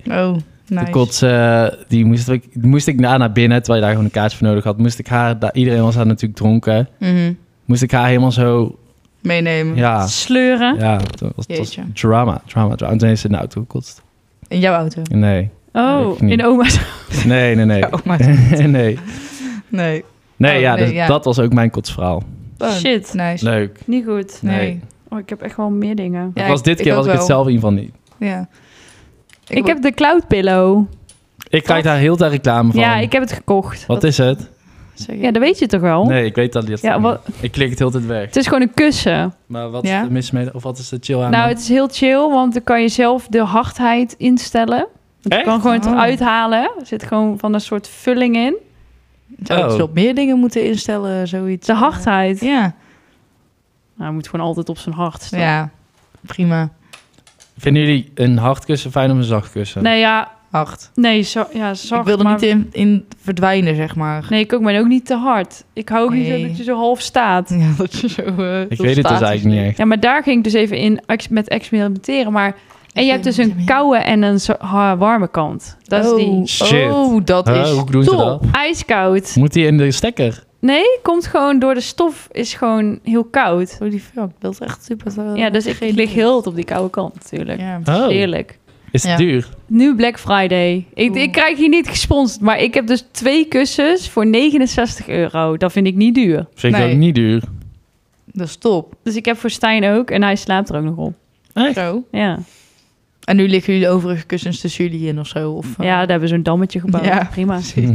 Speaker 2: eh, De kotsen. Die moest ik, die moest ik daar naar binnen. Terwijl je daar gewoon een kaartje voor nodig had. Moest ik haar. Daar, iedereen was daar natuurlijk dronken.
Speaker 1: Mhm.
Speaker 2: Moest ik haar helemaal zo.
Speaker 1: Meenemen.
Speaker 2: Ja.
Speaker 3: Sleuren.
Speaker 2: Ah. Ja, toen was, het was
Speaker 1: Hm? Jeetje.
Speaker 2: drama. Drama, drama. En toen is ze in de auto gekotst.
Speaker 1: In jouw auto.
Speaker 2: Nee.
Speaker 3: Oh,
Speaker 2: Ik niet.
Speaker 3: in oma's.
Speaker 2: Nee, nee, nee.
Speaker 1: Ja, ook maar.
Speaker 2: nee.
Speaker 1: Oh, Nee.
Speaker 2: Nee,
Speaker 1: Oh,
Speaker 2: ja,
Speaker 1: nee,
Speaker 2: dus
Speaker 1: ja.
Speaker 2: dat was ook mijn kotsverhaal.
Speaker 1: Oh,
Speaker 3: Shit.
Speaker 1: Nice.
Speaker 2: Leuk.
Speaker 3: Niet goed.
Speaker 2: Nee.
Speaker 1: nee.
Speaker 3: Oh, ik heb echt wel meer dingen.
Speaker 1: Ja,
Speaker 2: het was
Speaker 1: ik-
Speaker 2: dit
Speaker 1: ik
Speaker 2: keer
Speaker 1: ook
Speaker 2: was ik het
Speaker 1: wel.
Speaker 2: zelf in ieder geval niet.
Speaker 1: Ja.
Speaker 3: Ik, heb de Cloud Pillow.
Speaker 2: Ik krijg daar heel veel reclame van.
Speaker 3: Ja, ik heb het gekocht.
Speaker 2: Wat is het?
Speaker 1: Zeg
Speaker 3: Ja, dat weet je toch
Speaker 1: Oh?
Speaker 3: wel?
Speaker 2: Nee, ik weet dat niet.
Speaker 3: Ja, wat-
Speaker 2: Ik klik het heel de tijd weg.
Speaker 3: Het is gewoon een kussen.
Speaker 2: Maar wat
Speaker 1: Ja?
Speaker 2: is er mis mee? Of wat is de chill aan?
Speaker 3: Nou, het is heel chill, want dan kan je zelf de hardheid instellen. Je
Speaker 2: Echt? Ah.
Speaker 3: kan gewoon het
Speaker 1: Oh.
Speaker 3: eruit halen. Er zit gewoon van een soort vulling in.
Speaker 1: Zou ik
Speaker 2: Oh.
Speaker 1: dus op meer dingen moeten instellen, zoiets?
Speaker 3: De hardheid.
Speaker 1: Ja.
Speaker 3: Nou, je moet gewoon altijd op zijn hart staan.
Speaker 1: ja, prima.
Speaker 2: Vinden jullie een hard kussen fijn of een zacht kussen?
Speaker 3: Nee, ja.
Speaker 1: Hard.
Speaker 3: Nee, zo, ja, zacht.
Speaker 1: ik wil er
Speaker 3: maar-
Speaker 1: niet in, in verdwijnen, zeg maar.
Speaker 3: Nee, ik ook, maar ook niet te hard. Ik hou ook niet
Speaker 1: Nee.
Speaker 3: zo dat je zo half staat.
Speaker 1: Ja, dat je zo... eh,
Speaker 2: ik
Speaker 1: heel
Speaker 2: weet het dus
Speaker 1: statisch
Speaker 2: eigenlijk niet
Speaker 1: bent.
Speaker 2: echt.
Speaker 3: Ja, maar daar ging ik dus even in ex- met experimenteren. Maar, en je hebt dus een koude en een zo- ha- warme kant. Dat
Speaker 1: oh,
Speaker 3: is die
Speaker 2: Shit.
Speaker 1: Oh, dat
Speaker 2: Huh,
Speaker 1: is
Speaker 2: hoe doen ze
Speaker 1: top.
Speaker 2: dat?
Speaker 3: ijskoud.
Speaker 2: Moet die in de stekker?
Speaker 3: Nee, komt gewoon door de stof, is gewoon heel koud.
Speaker 1: Holy fuck, dat is echt super. eh,
Speaker 3: Ja, dus ik
Speaker 1: geen
Speaker 3: lig heel het op die koude kant natuurlijk.
Speaker 1: Ja.
Speaker 2: Oh,
Speaker 3: Heerlijk.
Speaker 2: is het
Speaker 1: Ja.
Speaker 2: duur?
Speaker 3: Nu Black Friday. Ik,
Speaker 1: Oeh.
Speaker 3: ik krijg hier niet gesponsord, maar ik heb dus twee kussens voor 69 euro. Dat vind ik niet duur.
Speaker 2: Vind ik
Speaker 1: Nee.
Speaker 2: ook niet duur.
Speaker 1: Dat is top.
Speaker 3: Dus ik heb voor Stijn ook en hij slaapt er ook nog op.
Speaker 2: Echt?
Speaker 1: Zo.
Speaker 3: Ja,
Speaker 1: En nu liggen jullie de overige kussens tussen jullie in of zo? Of, eh,
Speaker 3: ja daar hebben ze een dammetje gebouwd.
Speaker 1: Ja.
Speaker 3: Prima.
Speaker 2: Mhm.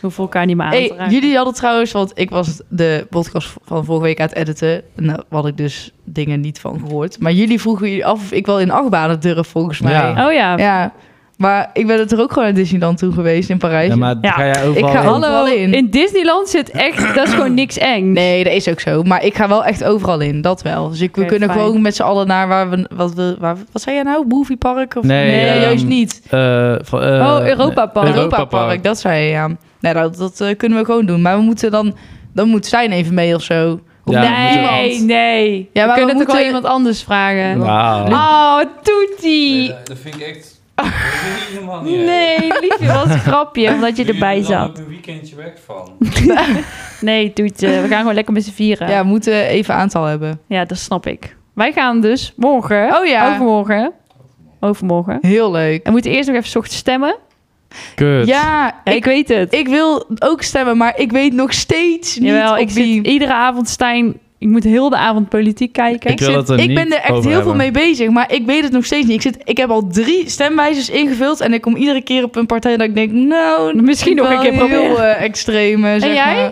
Speaker 3: We hoeven elkaar niet meer aan te
Speaker 1: Hey,
Speaker 3: raken.
Speaker 1: jullie hadden trouwens, want ik was de podcast van vorige week aan het editen. En daar had ik dus dingen niet van gehoord. Maar jullie vroegen jullie af of ik wel in achtbanen durf, volgens mij.
Speaker 2: Ja.
Speaker 1: Ja.
Speaker 3: Oh ja.
Speaker 1: Maar ik ben er ook gewoon naar Disneyland toe geweest in Parijs.
Speaker 2: Ja, maar
Speaker 3: Ja.
Speaker 2: ga jij overal...
Speaker 1: ga
Speaker 2: heen?
Speaker 1: alle-
Speaker 3: Hallo,
Speaker 1: overal
Speaker 3: in.
Speaker 1: in.
Speaker 3: Disneyland zit echt, dat is gewoon niks eng.
Speaker 1: Nee, dat is ook zo. Maar ik ga wel echt overal in, dat wel. Dus ik, we
Speaker 3: Oké,
Speaker 1: kunnen
Speaker 3: fijn.
Speaker 1: gewoon met z'n allen naar waar we... Wat, we, waar, we- wat zei jij nou? Moviepark? Of,
Speaker 2: Nee, ehm,
Speaker 1: juist niet.
Speaker 2: Eh, van, eh,
Speaker 3: Oh, Europa
Speaker 2: Europa
Speaker 3: Park.
Speaker 1: Europa Park,
Speaker 2: Park.
Speaker 1: dat zei je, ja. Nee, dat, dat eh, kunnen we gewoon doen. Maar we moeten dan... Dan moet Stijn even mee of zo. Of
Speaker 2: Ja,
Speaker 1: moet
Speaker 2: moeten we-
Speaker 3: nee,
Speaker 1: iemand.
Speaker 3: nee.
Speaker 1: Ja, maar
Speaker 3: we
Speaker 1: we
Speaker 3: kunnen toch wel
Speaker 1: moeten-
Speaker 3: iemand anders vragen.
Speaker 2: Wauw.
Speaker 1: Ah,
Speaker 3: Oh, Toetie.
Speaker 4: Nee, dat- dat vind ik echt dat vind ik helemaal niet erg.
Speaker 3: Nee, liefje, was een grapje, omdat je
Speaker 4: Jullie
Speaker 3: erbij
Speaker 4: hebben er
Speaker 3: zat.
Speaker 4: ook een weekendje weg van.
Speaker 3: Nee, Toetje, we gaan gewoon lekker met z'n vieren.
Speaker 1: Ja,
Speaker 3: Ja.
Speaker 1: we moeten even aantal hebben.
Speaker 3: dat snap ik. Wij gaan dus morgen,
Speaker 1: Oh ja.
Speaker 3: overmorgen, overmorgen.
Speaker 1: Heel leuk.
Speaker 3: We moeten eerst nog even 's ochtends stemmen.
Speaker 2: Kut.
Speaker 1: Ja,
Speaker 3: Ja, ik,
Speaker 1: ik,
Speaker 3: weet het.
Speaker 1: ik wil ook stemmen, maar ik weet nog steeds niet
Speaker 3: Jawel,
Speaker 1: op
Speaker 3: ik
Speaker 1: wie.
Speaker 3: zit iedere avond Stijn Ik moet heel de avond politiek kijken.
Speaker 2: Ik wil
Speaker 1: zit-
Speaker 2: het er
Speaker 1: ik
Speaker 2: niet
Speaker 1: ben er echt heel
Speaker 2: over
Speaker 1: veel
Speaker 2: hebben.
Speaker 1: mee bezig, maar ik weet het nog steeds niet. Ik, zit, ik heb al drie stemwijzers ingevuld en ik kom iedere keer op een partij dat ik denk, nou, dat
Speaker 3: Misschien
Speaker 1: vind
Speaker 3: nog
Speaker 1: ik
Speaker 3: een keer
Speaker 1: wel heel
Speaker 3: proberen.
Speaker 1: eh, extreem. eh, zeg
Speaker 3: jij?
Speaker 1: maar.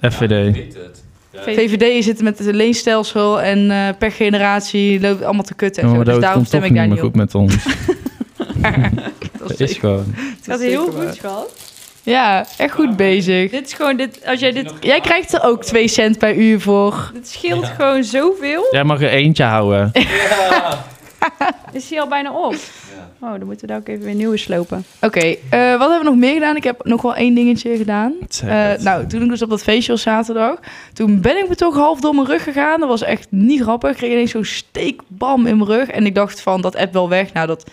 Speaker 4: Ja, ik
Speaker 2: FVD.
Speaker 4: weet het. Ja,
Speaker 3: Weet-
Speaker 1: VVD zit met het leenstelsel en eh, per generatie loopt het allemaal te kutten. En
Speaker 2: Ja,
Speaker 1: zo.
Speaker 2: maar
Speaker 1: Dus
Speaker 2: dat
Speaker 1: daarom
Speaker 2: komt
Speaker 1: stem
Speaker 2: toch
Speaker 1: ik daar
Speaker 2: niet meer
Speaker 1: niet op.
Speaker 2: goed met ons.
Speaker 1: Dat is
Speaker 2: Dat is
Speaker 1: zeker-
Speaker 2: gewoon...
Speaker 1: dat
Speaker 3: Dat
Speaker 1: is
Speaker 3: is heel
Speaker 1: zeker waar.
Speaker 3: goed, schat.
Speaker 1: Ja, echt goed bezig.
Speaker 3: Dit is gewoon, dit, als jij dit,
Speaker 1: Jij krijgt er ook twee cent per uur voor.
Speaker 3: dit scheelt gewoon zoveel.
Speaker 2: Jij mag er eentje houden.
Speaker 1: Eh,
Speaker 3: Is die al bijna op?
Speaker 4: ja.
Speaker 3: Oh, dan moeten we daar ook even weer nieuwe slopen.
Speaker 1: Oké, eh, wat hebben we nog meer gedaan? Ik heb nog wel één dingetje gedaan.
Speaker 2: Zeg
Speaker 1: Eh,
Speaker 2: het.
Speaker 1: nou, toen ik dus op dat feestje was zaterdag, toen ben ik me toch half door mijn rug gegaan. Dat was echt niet grappig. Ik kreeg ineens zo'n steekbam in mijn rug. En ik dacht van, dat app wel weg. Nou, dat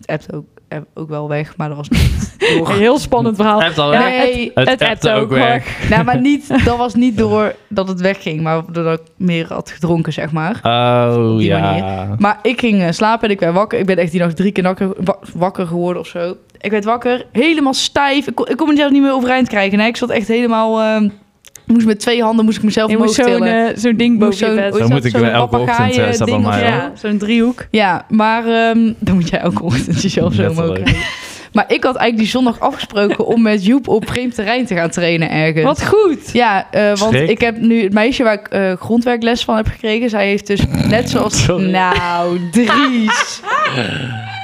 Speaker 1: het appt ook, app ook wel weg, maar dat was niet door.
Speaker 3: Heel spannend verhaal.
Speaker 2: Heb het al,
Speaker 3: Ja,
Speaker 2: hè?
Speaker 1: Nee.
Speaker 2: Het
Speaker 3: appt
Speaker 2: appte ook weg.
Speaker 1: nou, maar niet, dat was niet door dat het wegging, maar doordat ik meer had gedronken, zeg maar.
Speaker 2: Oh,
Speaker 1: die
Speaker 2: ja.
Speaker 1: Maar ik ging eh, slapen en ik werd wakker. Ik ben echt die nacht drie keer wakker, wa- wakker geworden of zo. Ik werd wakker, helemaal stijf. Ik kon, ik kon mezelf niet meer overeind krijgen. Nee, ik zat echt helemaal... ehm, moest met twee handen moest ik mezelf
Speaker 3: Je
Speaker 1: omhoog
Speaker 3: moet zo'n
Speaker 1: tillen.
Speaker 3: eh, zo'n ding
Speaker 1: Moest
Speaker 3: boven je
Speaker 1: zo'n- hoe
Speaker 3: bed.
Speaker 2: Zo
Speaker 1: is dat?
Speaker 2: moet ik
Speaker 1: Zo'n
Speaker 2: me elke ochtend,
Speaker 1: papegaaien
Speaker 2: eh, staat bij
Speaker 1: ding of
Speaker 2: mij,
Speaker 1: zo.
Speaker 2: hoor.
Speaker 3: Ja, zo'n driehoek.
Speaker 1: Ja, maar ehm, dan moet jij elke ochtend jezelf zo
Speaker 2: Letterlijk.
Speaker 1: omhoog krijgen. Maar ik had eigenlijk die zondag afgesproken om met Joep op vreemd terrein te gaan trainen ergens.
Speaker 3: Wat goed.
Speaker 1: Ja, eh, want
Speaker 2: Schrik.
Speaker 1: ik heb nu het meisje waar ik eh, grondwerkles van heb gekregen. Zij heeft dus net zoals...
Speaker 2: Sorry.
Speaker 1: Nou, Dries.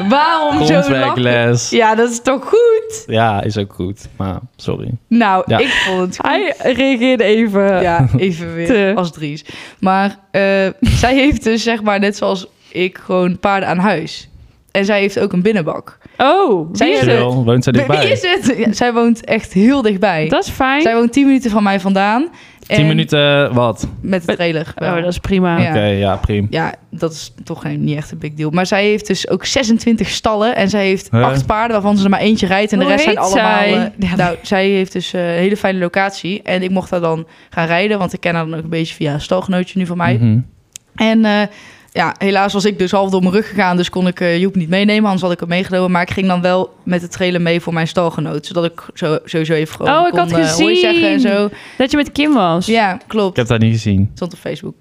Speaker 1: Waarom zo lachen?
Speaker 2: Grondwerkles.
Speaker 1: Ja, dat is toch goed?
Speaker 2: Ja, is ook goed. Maar, sorry.
Speaker 1: Nou,
Speaker 2: Ja.
Speaker 1: ik vond het goed.
Speaker 3: Hij reageerde even.
Speaker 1: Ja, even weer
Speaker 3: Te.
Speaker 1: als Dries. Maar eh, zij heeft dus, zeg maar, net zoals ik, gewoon paarden aan huis. En zij heeft ook een binnenbak.
Speaker 3: Oh,
Speaker 1: Zij
Speaker 3: wie is
Speaker 1: hebben-
Speaker 3: het?
Speaker 2: Chill, woont zij
Speaker 1: Wie wie
Speaker 2: dichtbij?
Speaker 1: is het? Ja, zij woont echt heel dichtbij.
Speaker 3: Dat is fijn.
Speaker 1: Zij woont 10 minuten van mij vandaan.
Speaker 2: 10
Speaker 1: En
Speaker 2: minuten, wat?
Speaker 1: Met de trailer.
Speaker 3: Oh,
Speaker 1: wel.
Speaker 3: dat is prima.
Speaker 1: Ja.
Speaker 2: Oké, ja, prima.
Speaker 1: Ja, dat is toch geen- niet echt een big deal. Maar zij heeft dus ook 26 stallen. En zij heeft
Speaker 2: Hè?
Speaker 1: acht paarden, waarvan ze er maar eentje rijdt. En de
Speaker 3: Hoe
Speaker 1: rest zijn
Speaker 3: heet
Speaker 1: allemaal...
Speaker 3: zij?
Speaker 1: eh, ja, nou, zij heeft dus eh, een hele fijne locatie. En ik mocht daar dan gaan rijden. Want ik ken haar dan ook een beetje via een stalgenootje nu van mij.
Speaker 2: Mhm.
Speaker 1: En eh, ja, helaas was ik dus half door mijn rug gegaan. Dus kon ik eh, Joep niet meenemen. Anders had ik hem meegenomen. Maar ik ging dan wel met de trailer mee voor mijn stalgenoot. Zodat ik zo, sowieso even gewoon
Speaker 3: Oh, ik
Speaker 1: kon,
Speaker 3: had
Speaker 1: eh, hoi
Speaker 3: gezien.
Speaker 1: zeggen en zo.
Speaker 3: Dat je met Kim was.
Speaker 1: Ja,
Speaker 2: Ik
Speaker 1: klopt.
Speaker 2: heb dat niet gezien.
Speaker 1: Stond op Facebook.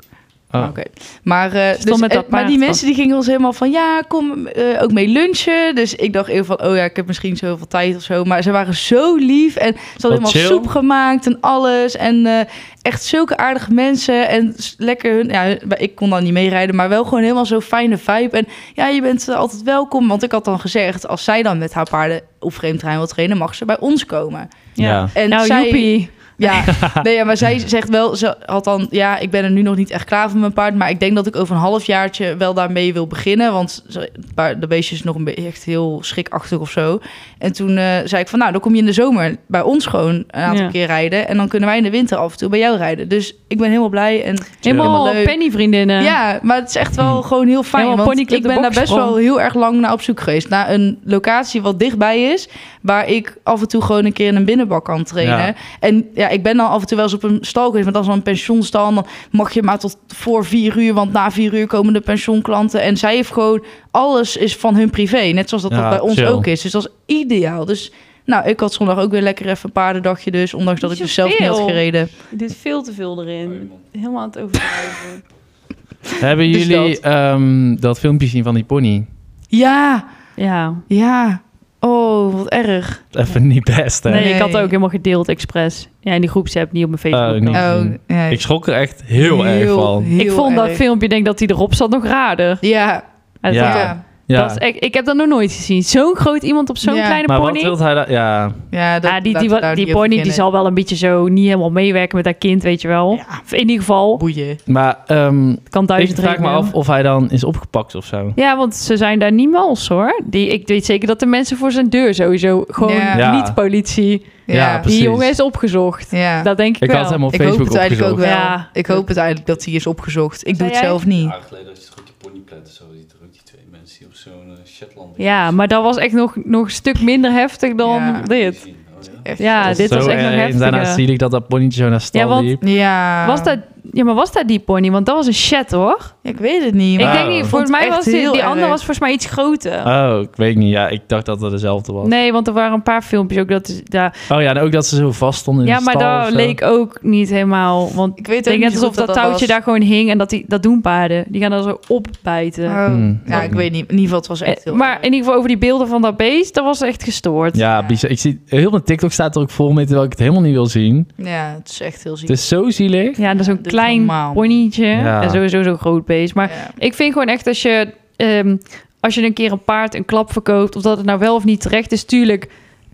Speaker 2: Oh.
Speaker 1: Oké. Maar, eh,
Speaker 3: Stond
Speaker 1: dus,
Speaker 3: Ah. met
Speaker 1: eh,
Speaker 3: dat
Speaker 1: maar die
Speaker 3: paard
Speaker 1: mensen die gingen ons helemaal van ja, kom eh, ook mee lunchen. Dus ik dacht even van oh ja, ik heb misschien zoveel tijd of zo. Maar ze waren zo lief en ze hadden helemaal
Speaker 2: chill.
Speaker 1: soep gemaakt en alles. En eh, echt zulke aardige mensen en s- lekker hun. Ja, ik kon dan niet meerijden, maar wel gewoon helemaal zo'n fijne vibe. En ja, je bent eh, altijd welkom. Want ik had dan gezegd, als zij dan met haar paarden op vreemd terrein wil trainen, mag ze bij ons komen.
Speaker 2: Ja.
Speaker 1: En
Speaker 3: Nou,
Speaker 1: zij,
Speaker 3: joepie.
Speaker 1: ja, nee, ja, maar zij zegt wel, ze had dan, ja, ik ben er nu nog niet echt klaar voor mijn paard, maar ik denk dat ik over een halfjaartje wel daarmee wil beginnen, want ze- het paard- de beestje is nog een beetje echt heel schrikachtig of zo. En toen eh, zei ik van, nou, dan kom je in de zomer bij ons gewoon een aantal
Speaker 3: Ja.
Speaker 1: keer rijden en dan kunnen wij in de winter af en toe bij jou rijden. Dus ik ben helemaal blij en
Speaker 3: Helemaal
Speaker 1: Helemaal leuk.
Speaker 3: pennyvriendinnen.
Speaker 1: ja, maar het is echt wel gewoon heel fijn.
Speaker 3: Helemaal
Speaker 1: want
Speaker 3: Ponyclub
Speaker 1: ik
Speaker 3: de
Speaker 1: ben daar best
Speaker 3: Boksprong.
Speaker 1: wel heel erg lang naar op zoek geweest. Naar een locatie wat dichtbij is. Waar ik af en toe gewoon een keer in een binnenbak kan trainen.
Speaker 2: Ja.
Speaker 1: En ja, ik ben dan af en toe wel eens op een stal geweest. Maar dat is dan een pensioenstal. En dan mag je maar tot voor vier uur. Want na vier uur komen de pensioenklanten. En zij heeft gewoon... Alles is van hun privé. Net zoals dat, dat
Speaker 2: Ja,
Speaker 1: bij ons
Speaker 2: chill.
Speaker 1: ook is. Dus dat is ideaal. Dus nou, ik had zondag ook weer lekker even een paardendagje dus. Ondanks dat ik
Speaker 3: Niet
Speaker 1: dus zelf niet had
Speaker 3: zoveel.
Speaker 1: gereden.
Speaker 3: Je doet veel te veel
Speaker 4: Oh,
Speaker 3: erin. Helemaal aan het overdrijven.
Speaker 2: Hebben
Speaker 1: Dus
Speaker 2: jullie ehm, dat filmpje zien van die pony?
Speaker 1: Ja,
Speaker 3: ja.
Speaker 1: ja. Oh, wat erg.
Speaker 2: Even niet best, hè?
Speaker 3: Nee,
Speaker 1: Nee.
Speaker 3: ik had het ook helemaal gedeeld expres. Ja, in die groepsapp, niet op mijn Facebook.
Speaker 2: Oh,
Speaker 3: dan.
Speaker 2: niet.
Speaker 1: Oh,
Speaker 2: gezien.
Speaker 1: ja.
Speaker 2: Ik schrok er echt heel, erg van.
Speaker 1: heel
Speaker 3: Ik vond dat
Speaker 1: erg.
Speaker 3: filmpje, denk dat hij erop zat, nog raarder.
Speaker 1: Ja,
Speaker 3: Hij
Speaker 2: Ja.
Speaker 1: ja.
Speaker 3: zat er-
Speaker 1: ja.
Speaker 2: Ja.
Speaker 3: Dat is echt, ik heb dat nog nooit gezien. Zo'n groot iemand op zo'n
Speaker 1: Ja.
Speaker 3: kleine
Speaker 2: maar wat
Speaker 3: pony.
Speaker 2: wil hij daar? Ja,
Speaker 1: dat,
Speaker 3: ja, Ah, die,
Speaker 1: laten
Speaker 3: die,
Speaker 1: we
Speaker 3: wa-
Speaker 1: daar
Speaker 3: die
Speaker 1: niet over
Speaker 3: pony die
Speaker 1: beginnen.
Speaker 3: zal wel een beetje zo niet helemaal meewerken met haar kind, weet je wel.
Speaker 1: Ja.
Speaker 3: Of in ieder geval,
Speaker 1: boeien.
Speaker 2: maar ehm,
Speaker 3: het kan
Speaker 2: ik
Speaker 3: duizend
Speaker 2: vraag me
Speaker 3: redenen.
Speaker 2: af of hij dan is opgepakt of zo.
Speaker 3: Ja, want ze zijn daar niet mals hoor. Die, ik weet zeker dat de mensen voor zijn deur sowieso gewoon
Speaker 1: Ja.
Speaker 2: Ja.
Speaker 3: niet politie.
Speaker 1: Ja,
Speaker 2: Ja,
Speaker 1: ja.
Speaker 2: Precies.
Speaker 3: Die jongen is opgezocht. Dat denk ik,
Speaker 2: Ik
Speaker 3: wel.
Speaker 2: had hem op
Speaker 1: Ik hoop
Speaker 2: Facebook
Speaker 1: het eigenlijk ook
Speaker 2: opgezocht.
Speaker 1: wel.
Speaker 3: Ja.
Speaker 1: Ik hoop het eigenlijk dat hij is opgezocht. Ik doe
Speaker 3: Zei
Speaker 1: het
Speaker 3: jij?
Speaker 1: zelf niet.
Speaker 4: Jaren geleden had je toch ook die ponyplet of zo, die er ook die twee mensen die op zo'n eh, Shetland...
Speaker 3: Ja, maar dat was echt nog, nog een stuk minder heftig dan
Speaker 1: Ja.
Speaker 3: dit.
Speaker 4: Gezien, oh ja.
Speaker 1: Echt.
Speaker 3: Ja, dit
Speaker 2: Zo
Speaker 3: was echt nog
Speaker 2: erg. En
Speaker 3: heftiger.
Speaker 2: daarna zie ik dat dat ponytje zo naar stal
Speaker 3: Ja, want-
Speaker 2: liep.
Speaker 1: Ja.
Speaker 3: Was dat Ja, maar was dat die pony? Want dat was een chat, hoor.
Speaker 1: Ja, ik weet het niet.
Speaker 2: Wow.
Speaker 3: Ik
Speaker 1: maar-
Speaker 3: denk niet,
Speaker 1: Ik
Speaker 3: voor
Speaker 1: vond
Speaker 3: mij
Speaker 1: het echt
Speaker 3: was die,
Speaker 1: heel
Speaker 3: die
Speaker 1: erg.
Speaker 3: andere was volgens mij iets groter.
Speaker 2: Oh, ik weet niet. Ja, ik dacht dat het dezelfde was.
Speaker 3: nee, want er waren een paar filmpjes ook dat... Ja,
Speaker 2: Oh ja, en ook dat ze zo vast stonden in
Speaker 3: ja
Speaker 2: de
Speaker 3: maar
Speaker 2: stal of
Speaker 3: daar
Speaker 2: zo.
Speaker 3: leek ook niet helemaal... Want
Speaker 1: Ik weet ook
Speaker 3: ik denk
Speaker 1: niet
Speaker 3: net
Speaker 1: zo
Speaker 3: alsof
Speaker 1: goed
Speaker 3: dat, touwtje
Speaker 1: was.
Speaker 3: daar gewoon hing en dat, die, dat doen paarden. Die gaan daar zo opbijten.
Speaker 1: Oh,
Speaker 2: Hmm,
Speaker 1: ja,
Speaker 2: ook
Speaker 1: ik
Speaker 2: niet.
Speaker 1: weet niet. In ieder geval, het was echt heel
Speaker 3: Eh, maar
Speaker 1: erg.
Speaker 3: in ieder geval over die beelden van dat beest, dat was echt gestoord.
Speaker 2: Ja, bizar. Ik zie, heel mijn TikTok staat er ook vol mee, terwijl ik het helemaal niet wil zien.
Speaker 1: Ja, het is echt heel ziek.
Speaker 2: Het is zo zielig.
Speaker 3: Ja, dat is
Speaker 1: Ja,
Speaker 3: zo'n
Speaker 1: dat is
Speaker 3: klein
Speaker 1: normaal.
Speaker 3: ponytje.
Speaker 2: Ja.
Speaker 3: En sowieso zo'n groot beest. Maar
Speaker 1: Ja.
Speaker 3: ik vind gewoon echt als je, ehm, als je een keer een paard een klap verkoopt, of dat het nou wel of niet terecht is, tuurlijk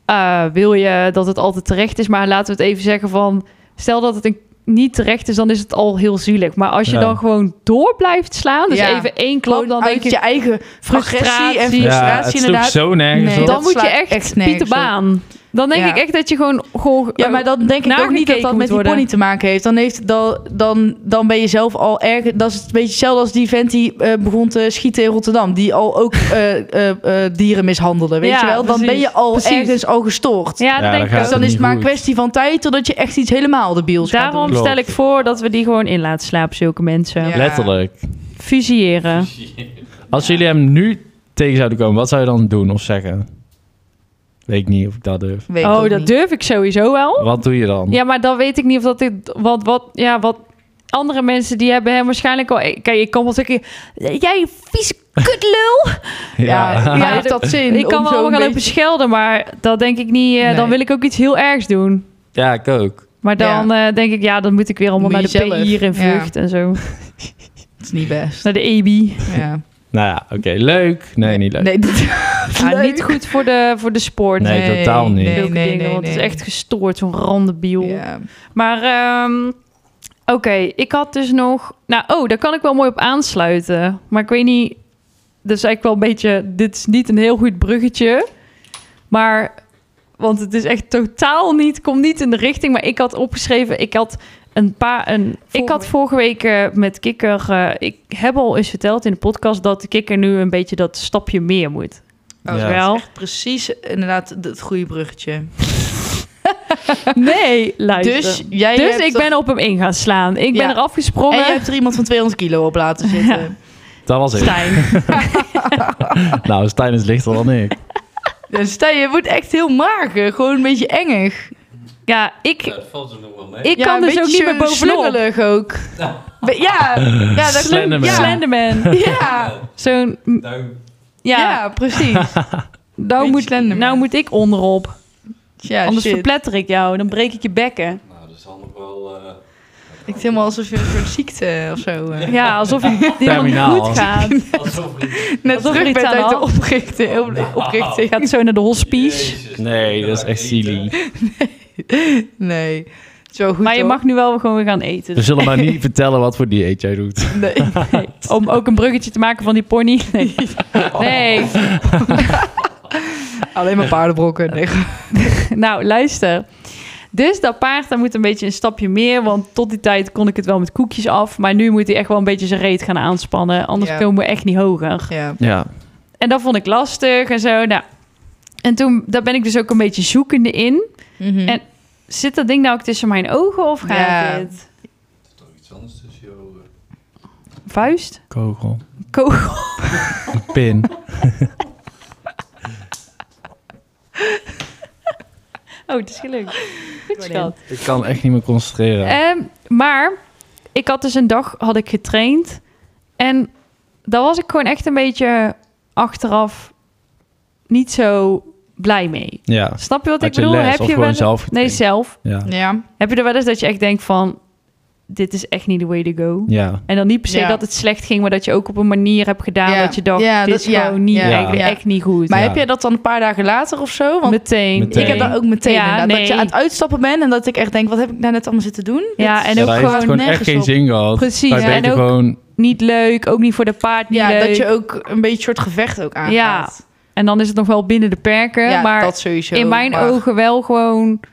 Speaker 3: eh, wil je dat het altijd terecht is. Maar laten we het even zeggen van, stel dat het een niet terecht is, dan is het al heel zielig. Maar als je
Speaker 2: Ja.
Speaker 3: dan gewoon door blijft slaan, dus
Speaker 1: Ja.
Speaker 3: even één klap,
Speaker 1: Gewoon
Speaker 3: dan
Speaker 1: uit
Speaker 3: denk ik,
Speaker 1: je eigen frustratie en
Speaker 3: frustratie.
Speaker 2: ja, het
Speaker 1: frustratie
Speaker 2: sloeg
Speaker 1: inderdaad.
Speaker 2: zo nergens
Speaker 1: Nee,
Speaker 2: op.
Speaker 3: dan
Speaker 1: dat
Speaker 3: moet je
Speaker 1: slaat
Speaker 3: echt,
Speaker 1: echt nergens
Speaker 3: Pieter Baan. Dan denk
Speaker 1: Ja.
Speaker 3: ik echt dat je gewoon... gewoon eh,
Speaker 1: Ja, maar dan denk ik ook niet dat
Speaker 3: nagekeken
Speaker 1: dat
Speaker 3: moet
Speaker 1: met die
Speaker 3: worden.
Speaker 1: pony te maken heeft. Dan, heeft dan, dan, dan ben je zelf al erg... Dat is een beetje hetzelfde als die vent die eh, begon te schieten in Rotterdam. Die al ook eh, eh, eh, dieren mishandelen, weet
Speaker 3: Ja,
Speaker 1: je wel? Dan ben je al
Speaker 3: precies.
Speaker 1: ergens al gestoord.
Speaker 3: ja,
Speaker 2: Ja,
Speaker 3: dat denk
Speaker 2: dan
Speaker 3: ik
Speaker 1: Dus
Speaker 2: gaat
Speaker 3: ook.
Speaker 1: dan is
Speaker 2: niet
Speaker 1: het maar een
Speaker 2: goed.
Speaker 1: kwestie van tijd... totdat je echt iets helemaal debiels gaat doen.
Speaker 3: Daarom
Speaker 2: Klopt.
Speaker 3: stel ik voor dat we die gewoon in laten slapen, zulke mensen.
Speaker 1: Ja.
Speaker 2: Letterlijk.
Speaker 3: Fusilleren.
Speaker 2: Als jullie hem nu tegen zouden komen, wat zou je dan doen of zeggen? Weet ik niet of ik dat durf.
Speaker 1: Weet ik
Speaker 3: Oh,
Speaker 1: ook
Speaker 3: dat
Speaker 1: niet.
Speaker 3: durf ik sowieso wel.
Speaker 2: Wat doe je dan?
Speaker 3: Ja, maar dan weet ik niet of dat dit... Wat, wat, ja, wat andere mensen die hebben hem waarschijnlijk al... Kijk, ik kan wel zeggen... Jij vieze kutlul!
Speaker 1: Ja,
Speaker 2: Ja.
Speaker 1: maar
Speaker 3: Ja,
Speaker 1: heeft dat zin?
Speaker 3: ik kan
Speaker 1: om
Speaker 3: wel
Speaker 1: zo
Speaker 3: allemaal
Speaker 1: een
Speaker 3: gaan lopen
Speaker 1: beetje-
Speaker 3: schelden, maar dat denk ik niet... eh,
Speaker 1: Nee.
Speaker 3: Dan wil ik ook iets heel ergs doen.
Speaker 2: Ja, ik ook.
Speaker 3: Maar dan eh, denk ik, ja, dan moet ik weer allemaal
Speaker 1: Moet
Speaker 3: naar
Speaker 1: je
Speaker 3: de
Speaker 1: zelf.
Speaker 3: PI hier in
Speaker 1: Ja.
Speaker 3: Vught en zo.
Speaker 1: Het is niet best.
Speaker 3: Naar de E EBI.
Speaker 1: Ja.
Speaker 2: Nou ja, oké. Leuk. Nee, niet leuk.
Speaker 1: Nee, dat...
Speaker 3: Ja,
Speaker 1: Leuk.
Speaker 3: niet goed voor de, voor de sport.
Speaker 2: Nee, totaal niet.
Speaker 1: Nee,
Speaker 3: Zulke
Speaker 1: nee,
Speaker 3: dingen,
Speaker 1: nee,
Speaker 3: want het
Speaker 1: nee.
Speaker 3: is echt gestoord, zo'n randebiel.
Speaker 1: Ja.
Speaker 3: Maar ehm, oké, ik had dus nog... Nou, oh, daar kan ik wel mooi op aansluiten. Maar ik weet niet... Dat is eigenlijk wel een beetje... Dit is niet een heel goed bruggetje. Maar... Want het is echt totaal niet... Komt niet in de richting. Maar ik had opgeschreven... Ik had een paar... Een, ik had
Speaker 1: week.
Speaker 3: vorige week eh, met Kikker... eh, ik heb al eens verteld in de podcast... dat Kikker nu een beetje dat stapje meer moet.
Speaker 1: Oh,
Speaker 2: Ja.
Speaker 3: Wel?
Speaker 1: Precies, inderdaad, het goede bruggetje.
Speaker 3: Nee, luister.
Speaker 1: Dus, jij
Speaker 3: Dus
Speaker 1: hebt
Speaker 3: ik ben op hem in gaan slaan. Ik ben
Speaker 1: Ja.
Speaker 3: eraf
Speaker 1: En je
Speaker 3: gesprongen.
Speaker 1: hebt er iemand van 200 kilo op laten zitten.
Speaker 2: Dat was ik.
Speaker 3: Stijn.
Speaker 2: Nou, Stijn is lichter dan ik.
Speaker 1: Dus stel, je wordt echt heel mager. Gewoon een beetje engig.
Speaker 3: Ja, ik,
Speaker 4: Dat valt er nog wel mee.
Speaker 3: ik
Speaker 1: Ja,
Speaker 3: kan
Speaker 1: een
Speaker 3: dus ook niet
Speaker 1: beetje
Speaker 3: meer bovenop.
Speaker 1: slungelig ook. Be- Ja, ja, dat
Speaker 2: Slenderman.
Speaker 1: Ja,
Speaker 3: Slenderman.
Speaker 1: ja,
Speaker 3: Zo'n... m,
Speaker 4: Nou,
Speaker 3: Ja,
Speaker 1: ja, precies.
Speaker 3: nou,
Speaker 1: beetje
Speaker 3: moet,
Speaker 1: Slenderman.
Speaker 3: nou moet ik onderop.
Speaker 1: Ja,
Speaker 3: Anders
Speaker 1: shit.
Speaker 3: verpletter ik jou. Dan breek ik je bekken.
Speaker 4: nou, dat zal nog wel... eh,
Speaker 1: Ik het helemaal alsof je een soort ziekte of zo... eh,
Speaker 3: Ja, alsof je helemaal
Speaker 2: Terminaal.
Speaker 3: niet goed gaat.
Speaker 4: alsof ik-
Speaker 1: Net
Speaker 3: Alsof er
Speaker 1: terug
Speaker 3: iets
Speaker 1: bent
Speaker 3: aan de
Speaker 1: uit de
Speaker 3: hand-
Speaker 1: oprichting. op-
Speaker 3: Je
Speaker 1: oprichting.
Speaker 3: gaat zo naar de hospice.
Speaker 4: Jezus,
Speaker 2: Nee, dat is echt
Speaker 4: eten.
Speaker 2: silly.
Speaker 1: Nee, zo goed
Speaker 3: Maar je
Speaker 1: hoor.
Speaker 3: mag nu wel gewoon weer gaan eten.
Speaker 2: We zullen maar niet vertellen wat voor dieet jij doet.
Speaker 1: Nee.
Speaker 3: Nee, Om ook een bruggetje te maken van die pony. Nee. nee.
Speaker 1: Alleen maar paardenbrokken. Nee.
Speaker 3: Nou, luister. Dus dat paard, daar moet een beetje een stapje meer. Want tot die tijd kon ik het wel met koekjes af. Maar nu moet hij echt wel een beetje zijn reet gaan aanspannen. Anders
Speaker 1: Ja.
Speaker 3: komen we echt niet hoger.
Speaker 1: Ja.
Speaker 2: Ja.
Speaker 3: En dat vond ik lastig en zo. Nou. En toen, daar ben ik dus ook een beetje zoekende in.
Speaker 1: Mhm.
Speaker 3: En- Zit dat ding nou ook tussen mijn ogen of gaat
Speaker 1: Ja.
Speaker 3: dit?
Speaker 4: Er zit toch iets anders tussen jou. eh.
Speaker 3: Vuist?
Speaker 2: Kogel.
Speaker 3: Kogel?
Speaker 2: Pin.
Speaker 3: Oh, het is gelukt. Goed, schat.
Speaker 2: Ik kan echt niet meer concentreren.
Speaker 3: Ehm, maar ik had dus een dag had ik getraind. En daar was ik gewoon echt een beetje achteraf niet zo blij mee.
Speaker 2: ja.
Speaker 3: Snap je wat
Speaker 2: Had
Speaker 3: ik
Speaker 2: je
Speaker 3: bedoel?
Speaker 2: les
Speaker 3: Heb
Speaker 2: of
Speaker 3: je
Speaker 2: gewoon
Speaker 3: wel-
Speaker 2: zelf
Speaker 3: Nee,
Speaker 2: getraind?
Speaker 3: zelf.
Speaker 2: Ja.
Speaker 1: Ja.
Speaker 3: Heb je er wel eens dat je echt denkt van... Dit is echt niet de way to go.
Speaker 2: Ja.
Speaker 3: En dan niet per se
Speaker 1: Ja.
Speaker 3: dat het slecht ging... maar dat je ook op een manier hebt gedaan...
Speaker 1: Ja.
Speaker 3: dat je dacht,
Speaker 1: Ja,
Speaker 3: dit
Speaker 1: dat-
Speaker 3: is
Speaker 1: ja.
Speaker 3: gewoon niet,
Speaker 1: Ja.
Speaker 3: Eigenlijk,
Speaker 1: Ja.
Speaker 3: echt niet goed.
Speaker 1: Maar
Speaker 2: Ja.
Speaker 1: heb jij dat dan een paar dagen later of zo? Want
Speaker 3: meteen.
Speaker 2: Meteen.
Speaker 1: ik heb dat ook meteen
Speaker 3: Ja,
Speaker 1: inderdaad,
Speaker 3: nee.
Speaker 1: dat je aan het uitstappen bent en dat ik echt denk, wat heb ik daar net allemaal zitten doen?
Speaker 3: Ja, en
Speaker 2: Ja, daar
Speaker 3: ook
Speaker 2: heeft het
Speaker 3: gewoon,
Speaker 2: gewoon echt
Speaker 1: nergens
Speaker 2: geen
Speaker 1: op.
Speaker 2: zin gehad.
Speaker 3: Precies,
Speaker 2: Maar
Speaker 3: ja.
Speaker 2: beter
Speaker 3: En ook-
Speaker 2: gewoon...
Speaker 3: niet leuk. Ook niet voor de paard, niet
Speaker 1: Ja,
Speaker 3: leuk.
Speaker 1: dat je ook een beetje soort gevecht ook aangaat.
Speaker 3: En dan is het nog wel binnen de perken.
Speaker 1: Ja,
Speaker 3: maar
Speaker 1: dat sowieso.
Speaker 3: in mijn
Speaker 1: maar
Speaker 3: ogen wel gewoon...
Speaker 1: niet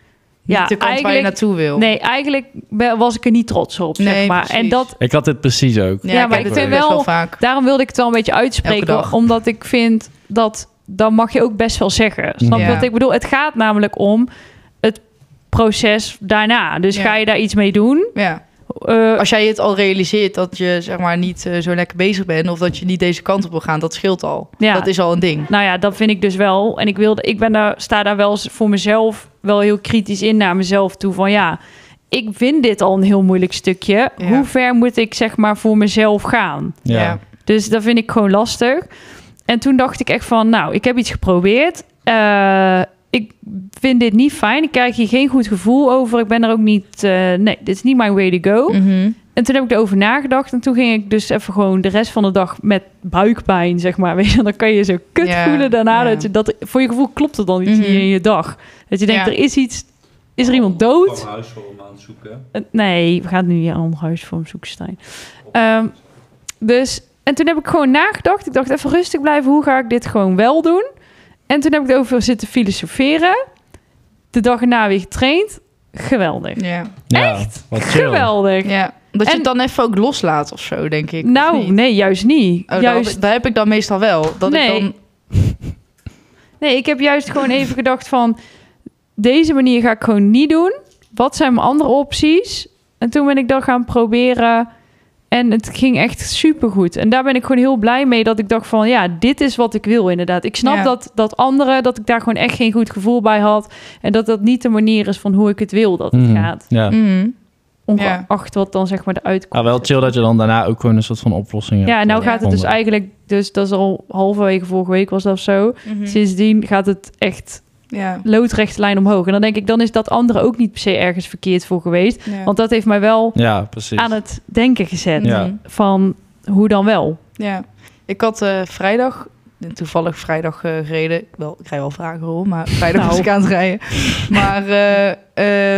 Speaker 3: Ja,
Speaker 1: de kant waar je
Speaker 3: eigenlijk,
Speaker 1: naartoe wil.
Speaker 3: nee, eigenlijk be- was ik er niet trots op, zeg
Speaker 1: Nee,
Speaker 3: maar.
Speaker 1: precies.
Speaker 3: En dat,
Speaker 2: Ik had dit precies ook.
Speaker 3: ja, maar
Speaker 1: heb
Speaker 3: ik
Speaker 1: het
Speaker 3: vind
Speaker 1: best
Speaker 3: wel-
Speaker 1: vaak.
Speaker 3: daarom wilde ik het wel een beetje
Speaker 1: Elke
Speaker 3: uitspreken.
Speaker 1: dag.
Speaker 3: Omdat ik vind dat, dan mag je ook best wel zeggen. Snap je
Speaker 1: Ja.
Speaker 3: wat ik bedoel? Het gaat namelijk om het proces daarna. Dus
Speaker 1: Ja.
Speaker 3: ga je daar iets mee doen?
Speaker 1: Ja,
Speaker 3: eh,
Speaker 1: Als jij het al realiseert dat je zeg maar niet eh, zo lekker bezig bent of dat je niet deze kant op wil gaan, dat scheelt al.
Speaker 3: Ja.
Speaker 1: Dat is al een ding.
Speaker 3: nou ja, dat vind ik dus wel. En ik, wilde, ik ben daar, sta daar wel eens voor mezelf wel heel kritisch in naar mezelf toe. Van ja, ik vind dit al een heel moeilijk stukje.
Speaker 1: Ja.
Speaker 3: Hoe ver moet ik zeg maar voor mezelf gaan?
Speaker 2: Ja.
Speaker 1: Ja.
Speaker 3: Dus dat vind ik gewoon lastig. En toen dacht ik echt van, nou, ik heb iets geprobeerd. Eh, ik vind dit niet fijn. Ik krijg hier geen goed gevoel over. Ik ben er ook niet... eh, nee, dit is niet mijn way to go.
Speaker 1: Mhm.
Speaker 3: En toen heb ik erover nagedacht. En toen ging ik dus even gewoon de rest van de dag met buikpijn, zeg maar. Weet je, dan kan je je zo kut
Speaker 1: Ja,
Speaker 3: voelen daarna.
Speaker 1: ja.
Speaker 3: Dat je, dat, voor je gevoel klopt er dan iets
Speaker 1: Mhm.
Speaker 3: hier in je dag. Dat je denkt,
Speaker 1: Ja.
Speaker 3: er is iets... Is er iemand dood?
Speaker 4: Van huis voor hem aan het zoeken.
Speaker 3: Eh, Nee, we gaan nu hier een ander huis voor hem zoeken, Stijn. Ehm, dus, en toen heb ik gewoon nagedacht. Ik dacht, even rustig blijven. Hoe ga ik dit gewoon wel doen? En toen heb ik erover zitten filosoferen. De dag erna weer getraind. Geweldig.
Speaker 1: ja.
Speaker 2: Echt? Wat chill.
Speaker 3: Geweldig.
Speaker 1: ja. Dat je
Speaker 3: En-
Speaker 1: het dan even ook loslaat of zo, denk ik. of
Speaker 3: Nou,
Speaker 1: niet?
Speaker 3: nee, juist niet.
Speaker 1: Oh,
Speaker 3: juist,
Speaker 1: dat, dat heb ik dan meestal wel. Dat
Speaker 3: Nee.
Speaker 1: ik dan,
Speaker 3: Nee, ik heb juist gewoon even gedacht van... Deze manier ga ik gewoon niet doen. Wat zijn mijn andere opties? En toen ben ik dat gaan proberen. En het ging echt supergoed. En daar ben ik gewoon heel blij mee dat ik dacht van... Ja, dit is wat ik wil inderdaad. Ik snap
Speaker 1: Ja.
Speaker 3: dat, dat andere, dat ik daar gewoon echt geen goed gevoel bij had. En dat dat niet de manier is van hoe ik het wil dat het
Speaker 2: Mhm.
Speaker 3: gaat. Mm.
Speaker 2: Ja.
Speaker 1: Mhm.
Speaker 3: Ongeacht wat dan zeg maar de uitkomst
Speaker 2: Ah, wel
Speaker 3: is.
Speaker 2: chill dat je dan daarna ook gewoon een soort van oplossing hebt.
Speaker 3: Ja, en nou
Speaker 1: Ja.
Speaker 3: gaat het dus
Speaker 2: gevonden.
Speaker 3: eigenlijk... Dus dat is al halverwege vorige week was dat of zo.
Speaker 1: Hmm.
Speaker 3: Sindsdien gaat het echt
Speaker 1: Mhm. Ja.
Speaker 3: loodrechte lijn omhoog. En dan denk ik, dan is dat andere ook niet per se ergens verkeerd voor geweest.
Speaker 1: Ja.
Speaker 3: Want eh, dat heeft mij wel
Speaker 2: Ja, precies.
Speaker 3: aan het denken gezet.
Speaker 2: Ja.
Speaker 1: Mhm.
Speaker 3: Van hoe dan wel?
Speaker 1: Ja, ik had eh, vrijdag, toevallig vrijdag eh, gereden. Ik Wel, ik krijg wel vragen hoor, maar vrijdag
Speaker 3: Nou.
Speaker 1: was ik aan het rijden. Maar eh,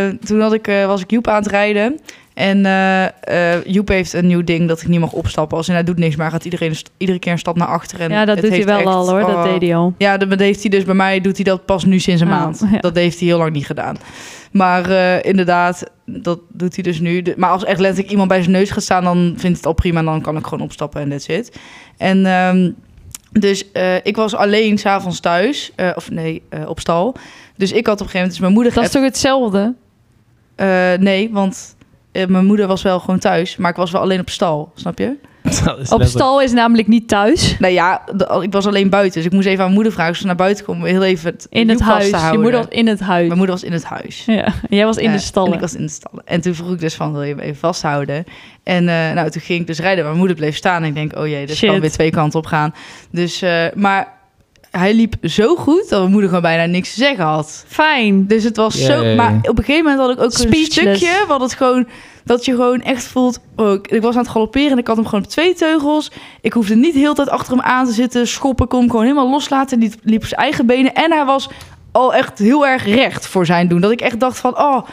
Speaker 1: eh, toen had ik, eh, was ik Joep aan het rijden. En eh, eh, Joep heeft een nieuw ding dat ik niet mag opstappen. Als en hij nou doet niets, maar gaat iedereen een st- iedere keer een stap naar achteren. En
Speaker 3: ja, dat
Speaker 1: het
Speaker 3: doet hij
Speaker 1: heeft
Speaker 3: wel
Speaker 1: echt-
Speaker 3: al hoor.
Speaker 1: oh.
Speaker 3: Dat deed hij al.
Speaker 1: Ja, dat dat heeft hij dus bij mij doet hij dat pas nu sinds een
Speaker 3: Ah,
Speaker 1: maand.
Speaker 3: ja.
Speaker 1: Dat heeft hij heel lang niet gedaan. Maar eh, inderdaad, dat doet hij dus nu. De- Maar als echt letterlijk iemand bij zijn neus gaat staan, dan vindt het al prima. En dan kan ik gewoon opstappen en that's it. En ehm, dus eh, ik was alleen s'avonds thuis. eh, of nee, eh, op stal. Dus ik had op een gegeven moment dus mijn moeder
Speaker 3: Dat is
Speaker 1: geappt.
Speaker 3: toch hetzelfde?
Speaker 1: Eh, nee, want eh, mijn moeder was wel gewoon thuis. Maar ik was wel alleen op stal, snap je?
Speaker 2: Dat is
Speaker 3: Op
Speaker 2: letterlijk-
Speaker 3: stal is namelijk niet thuis.
Speaker 1: Nou ja, de- ik was alleen buiten. Dus ik moest even aan mijn moeder vragen als ze naar buiten komt. om Heel even het
Speaker 3: In
Speaker 1: wiel
Speaker 3: het
Speaker 1: vast te
Speaker 3: huis. Je
Speaker 1: houden.
Speaker 3: moeder was in het huis.
Speaker 1: Mijn moeder was in het huis.
Speaker 3: Ja. En Jij was in de
Speaker 1: Eh, En
Speaker 3: stallen.
Speaker 1: ik was in de stallen. En toen vroeg ik dus van, wil je hem even vasthouden? En eh, nou, toen ging ik dus rijden. Mijn moeder bleef staan. En ik denk, oh jee, dit
Speaker 3: Shit.
Speaker 1: kan weer twee kanten op gaan. Dus, eh, maar hij liep zo goed dat mijn moeder gewoon bijna niks te zeggen had.
Speaker 3: Fijn.
Speaker 1: Dus het was
Speaker 2: Jee.
Speaker 1: zo... Maar op een gegeven moment had ik ook een
Speaker 3: Speechless.
Speaker 1: stukje... wat het gewoon, dat je gewoon echt voelt... Oh, ik, ik was aan het galopperen en ik had hem gewoon op twee teugels. Ik hoefde niet de hele tijd achter hem aan te zitten. Schoppen, kon hem gewoon helemaal loslaten. Die liep op zijn eigen benen. En hij was al echt heel erg recht voor zijn doen. Dat ik echt dacht van... Oh,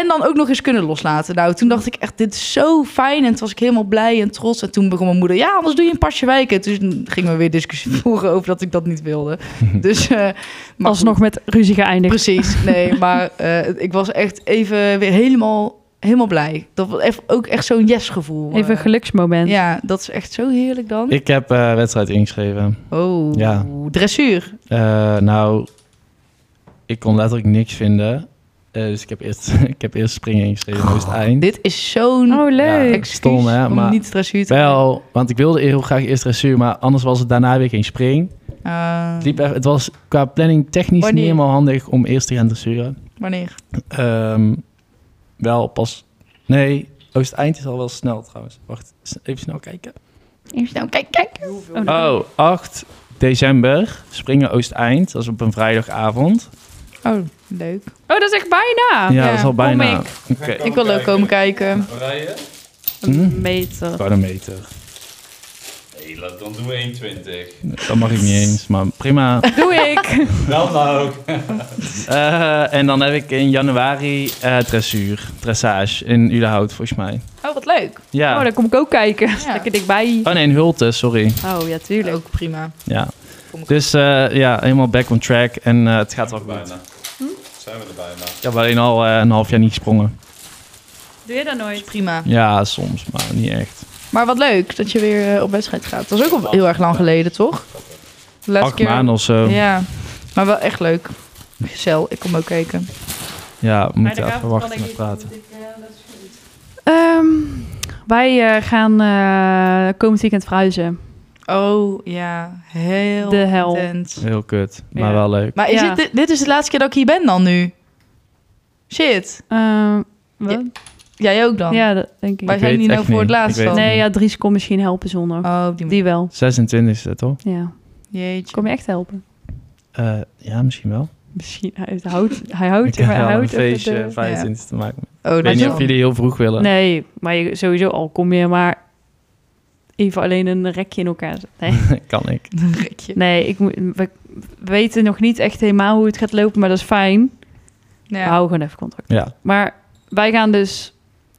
Speaker 1: en dan ook nog eens kunnen loslaten. Nou, toen dacht ik echt, dit is zo fijn. En toen was ik helemaal blij en trots. En toen begon mijn moeder, ja, anders doe je een pasje wijken. Dus gingen we weer discussie voeren over dat ik dat niet wilde. Dus, eh maar goed.
Speaker 3: Alsnog met ruzie geëindigd.
Speaker 1: Precies, nee, maar eh, ik was echt even weer helemaal, helemaal blij. Dat was echt, ook echt zo'n yes-gevoel.
Speaker 3: Even een
Speaker 1: Eh,
Speaker 3: geluksmoment.
Speaker 1: Ja, dat is echt zo heerlijk dan.
Speaker 2: Ik heb eh, wedstrijd ingeschreven.
Speaker 1: Oh,
Speaker 2: Ja.
Speaker 1: dressuur.
Speaker 2: Eh, nou, ik kon letterlijk niks vinden. Eh, dus ik heb, eerst, ik heb eerst springen ingeschreven, maar het eind.
Speaker 1: Dit is zo'n
Speaker 3: Oh, leuk.
Speaker 1: excuus
Speaker 2: stom, hè,
Speaker 1: om
Speaker 2: maar
Speaker 1: niet dressuur te
Speaker 2: Wel, want ik wilde heel graag eerst dressuur, maar anders was het daarna weer geen spring.
Speaker 1: doen. Eh,
Speaker 2: Het liep echt- het was qua planning technisch niet
Speaker 1: Wanneer?
Speaker 2: helemaal handig om eerst te gaan dressuren.
Speaker 1: Wanneer?
Speaker 2: Ehm, wel pas... Nee, Oost-Eind is al wel snel trouwens. Wacht, s- even snel kijken.
Speaker 1: Nou, kijk, kijk.
Speaker 2: Oh, 8 december, springen Oost-Eind. Dat is op een vrijdagavond.
Speaker 1: Oh, leuk.
Speaker 3: Oh, dat is echt bijna.
Speaker 2: Ja, dat is al
Speaker 3: kom
Speaker 2: bijna.
Speaker 3: ik.
Speaker 2: Oké.
Speaker 1: Ik wil ook komen kijken.
Speaker 4: Rijden?
Speaker 2: Mm.
Speaker 3: Een meter.
Speaker 2: Gewoon een meter.
Speaker 4: Nee, laat- dan doen we
Speaker 2: Dat mag ik niet eens, maar prima.
Speaker 3: Doe ik.
Speaker 4: 1,20. Wel nou.
Speaker 2: Eh, en dan heb ik in januari eh dressuur, dressage in Udenhout volgens mij.
Speaker 1: Oh, wat leuk.
Speaker 2: Ja.
Speaker 3: Oh, dan kom ik ook kijken.
Speaker 1: Ja.
Speaker 3: Lekker dichtbij.
Speaker 2: Oh nee, in Hulte, sorry.
Speaker 3: Oh ja, tuurlijk.
Speaker 1: Ook prima.
Speaker 2: Ja.
Speaker 1: Kom ik-
Speaker 2: Dus eh, ja, helemaal back on track en eh, het gaat wel goed.
Speaker 4: Bijna.
Speaker 3: Hm?
Speaker 4: Zijn we er bijna?
Speaker 2: Ik heb alleen al eh, een half jaar niet gesprongen.
Speaker 3: Doe je dat nooit?
Speaker 1: Prima.
Speaker 2: Ja, soms, maar niet echt.
Speaker 1: Maar wat leuk dat je weer eh, op wedstrijd gaat. Dat is ook al heel erg lang geleden, toch? De laatste
Speaker 2: Acht maanden of zo. Ja,
Speaker 1: Ja, maar wel echt leuk. Gezel, ik kom ook kijken.
Speaker 2: we moeten even wachten met praten.
Speaker 3: Ehm, wij eh, gaan eh, komend weekend verhuizen.
Speaker 1: Oh ja, heel
Speaker 3: De hel.
Speaker 1: intens.
Speaker 2: Heel kut, maar
Speaker 1: dus- Ja.
Speaker 2: wel leuk.
Speaker 1: Maar is
Speaker 3: Ja.
Speaker 1: dit- dit, dit is de laatste keer dat ik hier ben dan nu? Shit.
Speaker 3: Ehm, wat?
Speaker 1: Jij ook dan?
Speaker 3: Ja, dat denk ik.
Speaker 1: Wij
Speaker 2: Ik
Speaker 1: zijn
Speaker 2: weet
Speaker 1: hier nou
Speaker 2: echt
Speaker 1: voor
Speaker 2: niet.
Speaker 1: het laatst
Speaker 2: Ik weet
Speaker 1: van.
Speaker 2: het
Speaker 3: Nee, ja, Dries kon misschien helpen zondag.
Speaker 1: Oh, die,
Speaker 3: Die wel,
Speaker 2: 26e, toch?
Speaker 3: ja.
Speaker 1: Jeetje.
Speaker 3: Kom je echt helpen?
Speaker 2: Eh, ja, misschien wel.
Speaker 3: Misschien, hij houdt, hij houdt,
Speaker 2: ik
Speaker 3: maar hij
Speaker 2: heb wel een
Speaker 3: houdt even
Speaker 2: feestje
Speaker 3: de-
Speaker 2: 25 te maken.
Speaker 1: Oh,
Speaker 2: Ik weet niet
Speaker 1: dat
Speaker 2: of jullie heel vroeg willen.
Speaker 3: Nee, maar je, sowieso al kom je maar even alleen een rekje in elkaar zetten. Nee.
Speaker 2: kan ik.
Speaker 1: een rekje.
Speaker 3: Nee, ik, moet- we weten nog niet echt helemaal hoe het gaat lopen, maar dat is fijn. We
Speaker 1: Ja.
Speaker 3: houden gewoon even contact.
Speaker 2: Ja,
Speaker 3: Maar wij gaan dus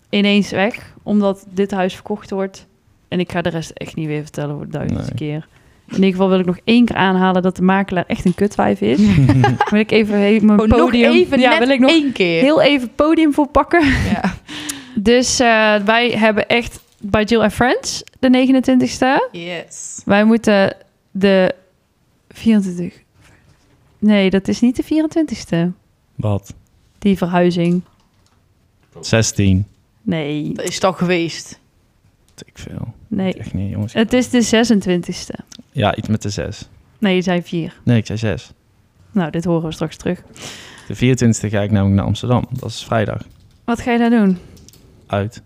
Speaker 3: ineens weg, omdat dit huis verkocht wordt. En ik ga de rest echt niet weer vertellen voor de duizendste keer. In ieder geval wil ik nog één keer aanhalen dat de makelaar echt een kutwijf is. wil ik even he- mijn
Speaker 1: Oh, nog
Speaker 3: podium...
Speaker 1: even,
Speaker 3: ja,
Speaker 1: net
Speaker 3: wil ik nog
Speaker 1: één keer.
Speaker 3: heel even podium voor pakken.
Speaker 1: Ja.
Speaker 3: Dus eh, wij hebben echt bij Jill and Friends de 29ste.
Speaker 1: Yes.
Speaker 3: Wij moeten de 24. Nee, dat is niet de 24ste.
Speaker 2: wat?
Speaker 3: Die verhuizing.
Speaker 2: 16.
Speaker 3: Nee,
Speaker 1: Dat is toch geweest.
Speaker 2: Ik veel.
Speaker 3: nee.
Speaker 2: Echt niet, jongens.
Speaker 3: Het is de 26ste.
Speaker 2: Ja, iets met de 6.
Speaker 3: Nee, je zei 4.
Speaker 2: Nee, ik zei 6.
Speaker 3: Nou, dit horen we straks terug.
Speaker 2: De 24e ga ik namelijk naar Amsterdam. Dat is vrijdag.
Speaker 3: Wat ga je daar doen?
Speaker 2: Uit.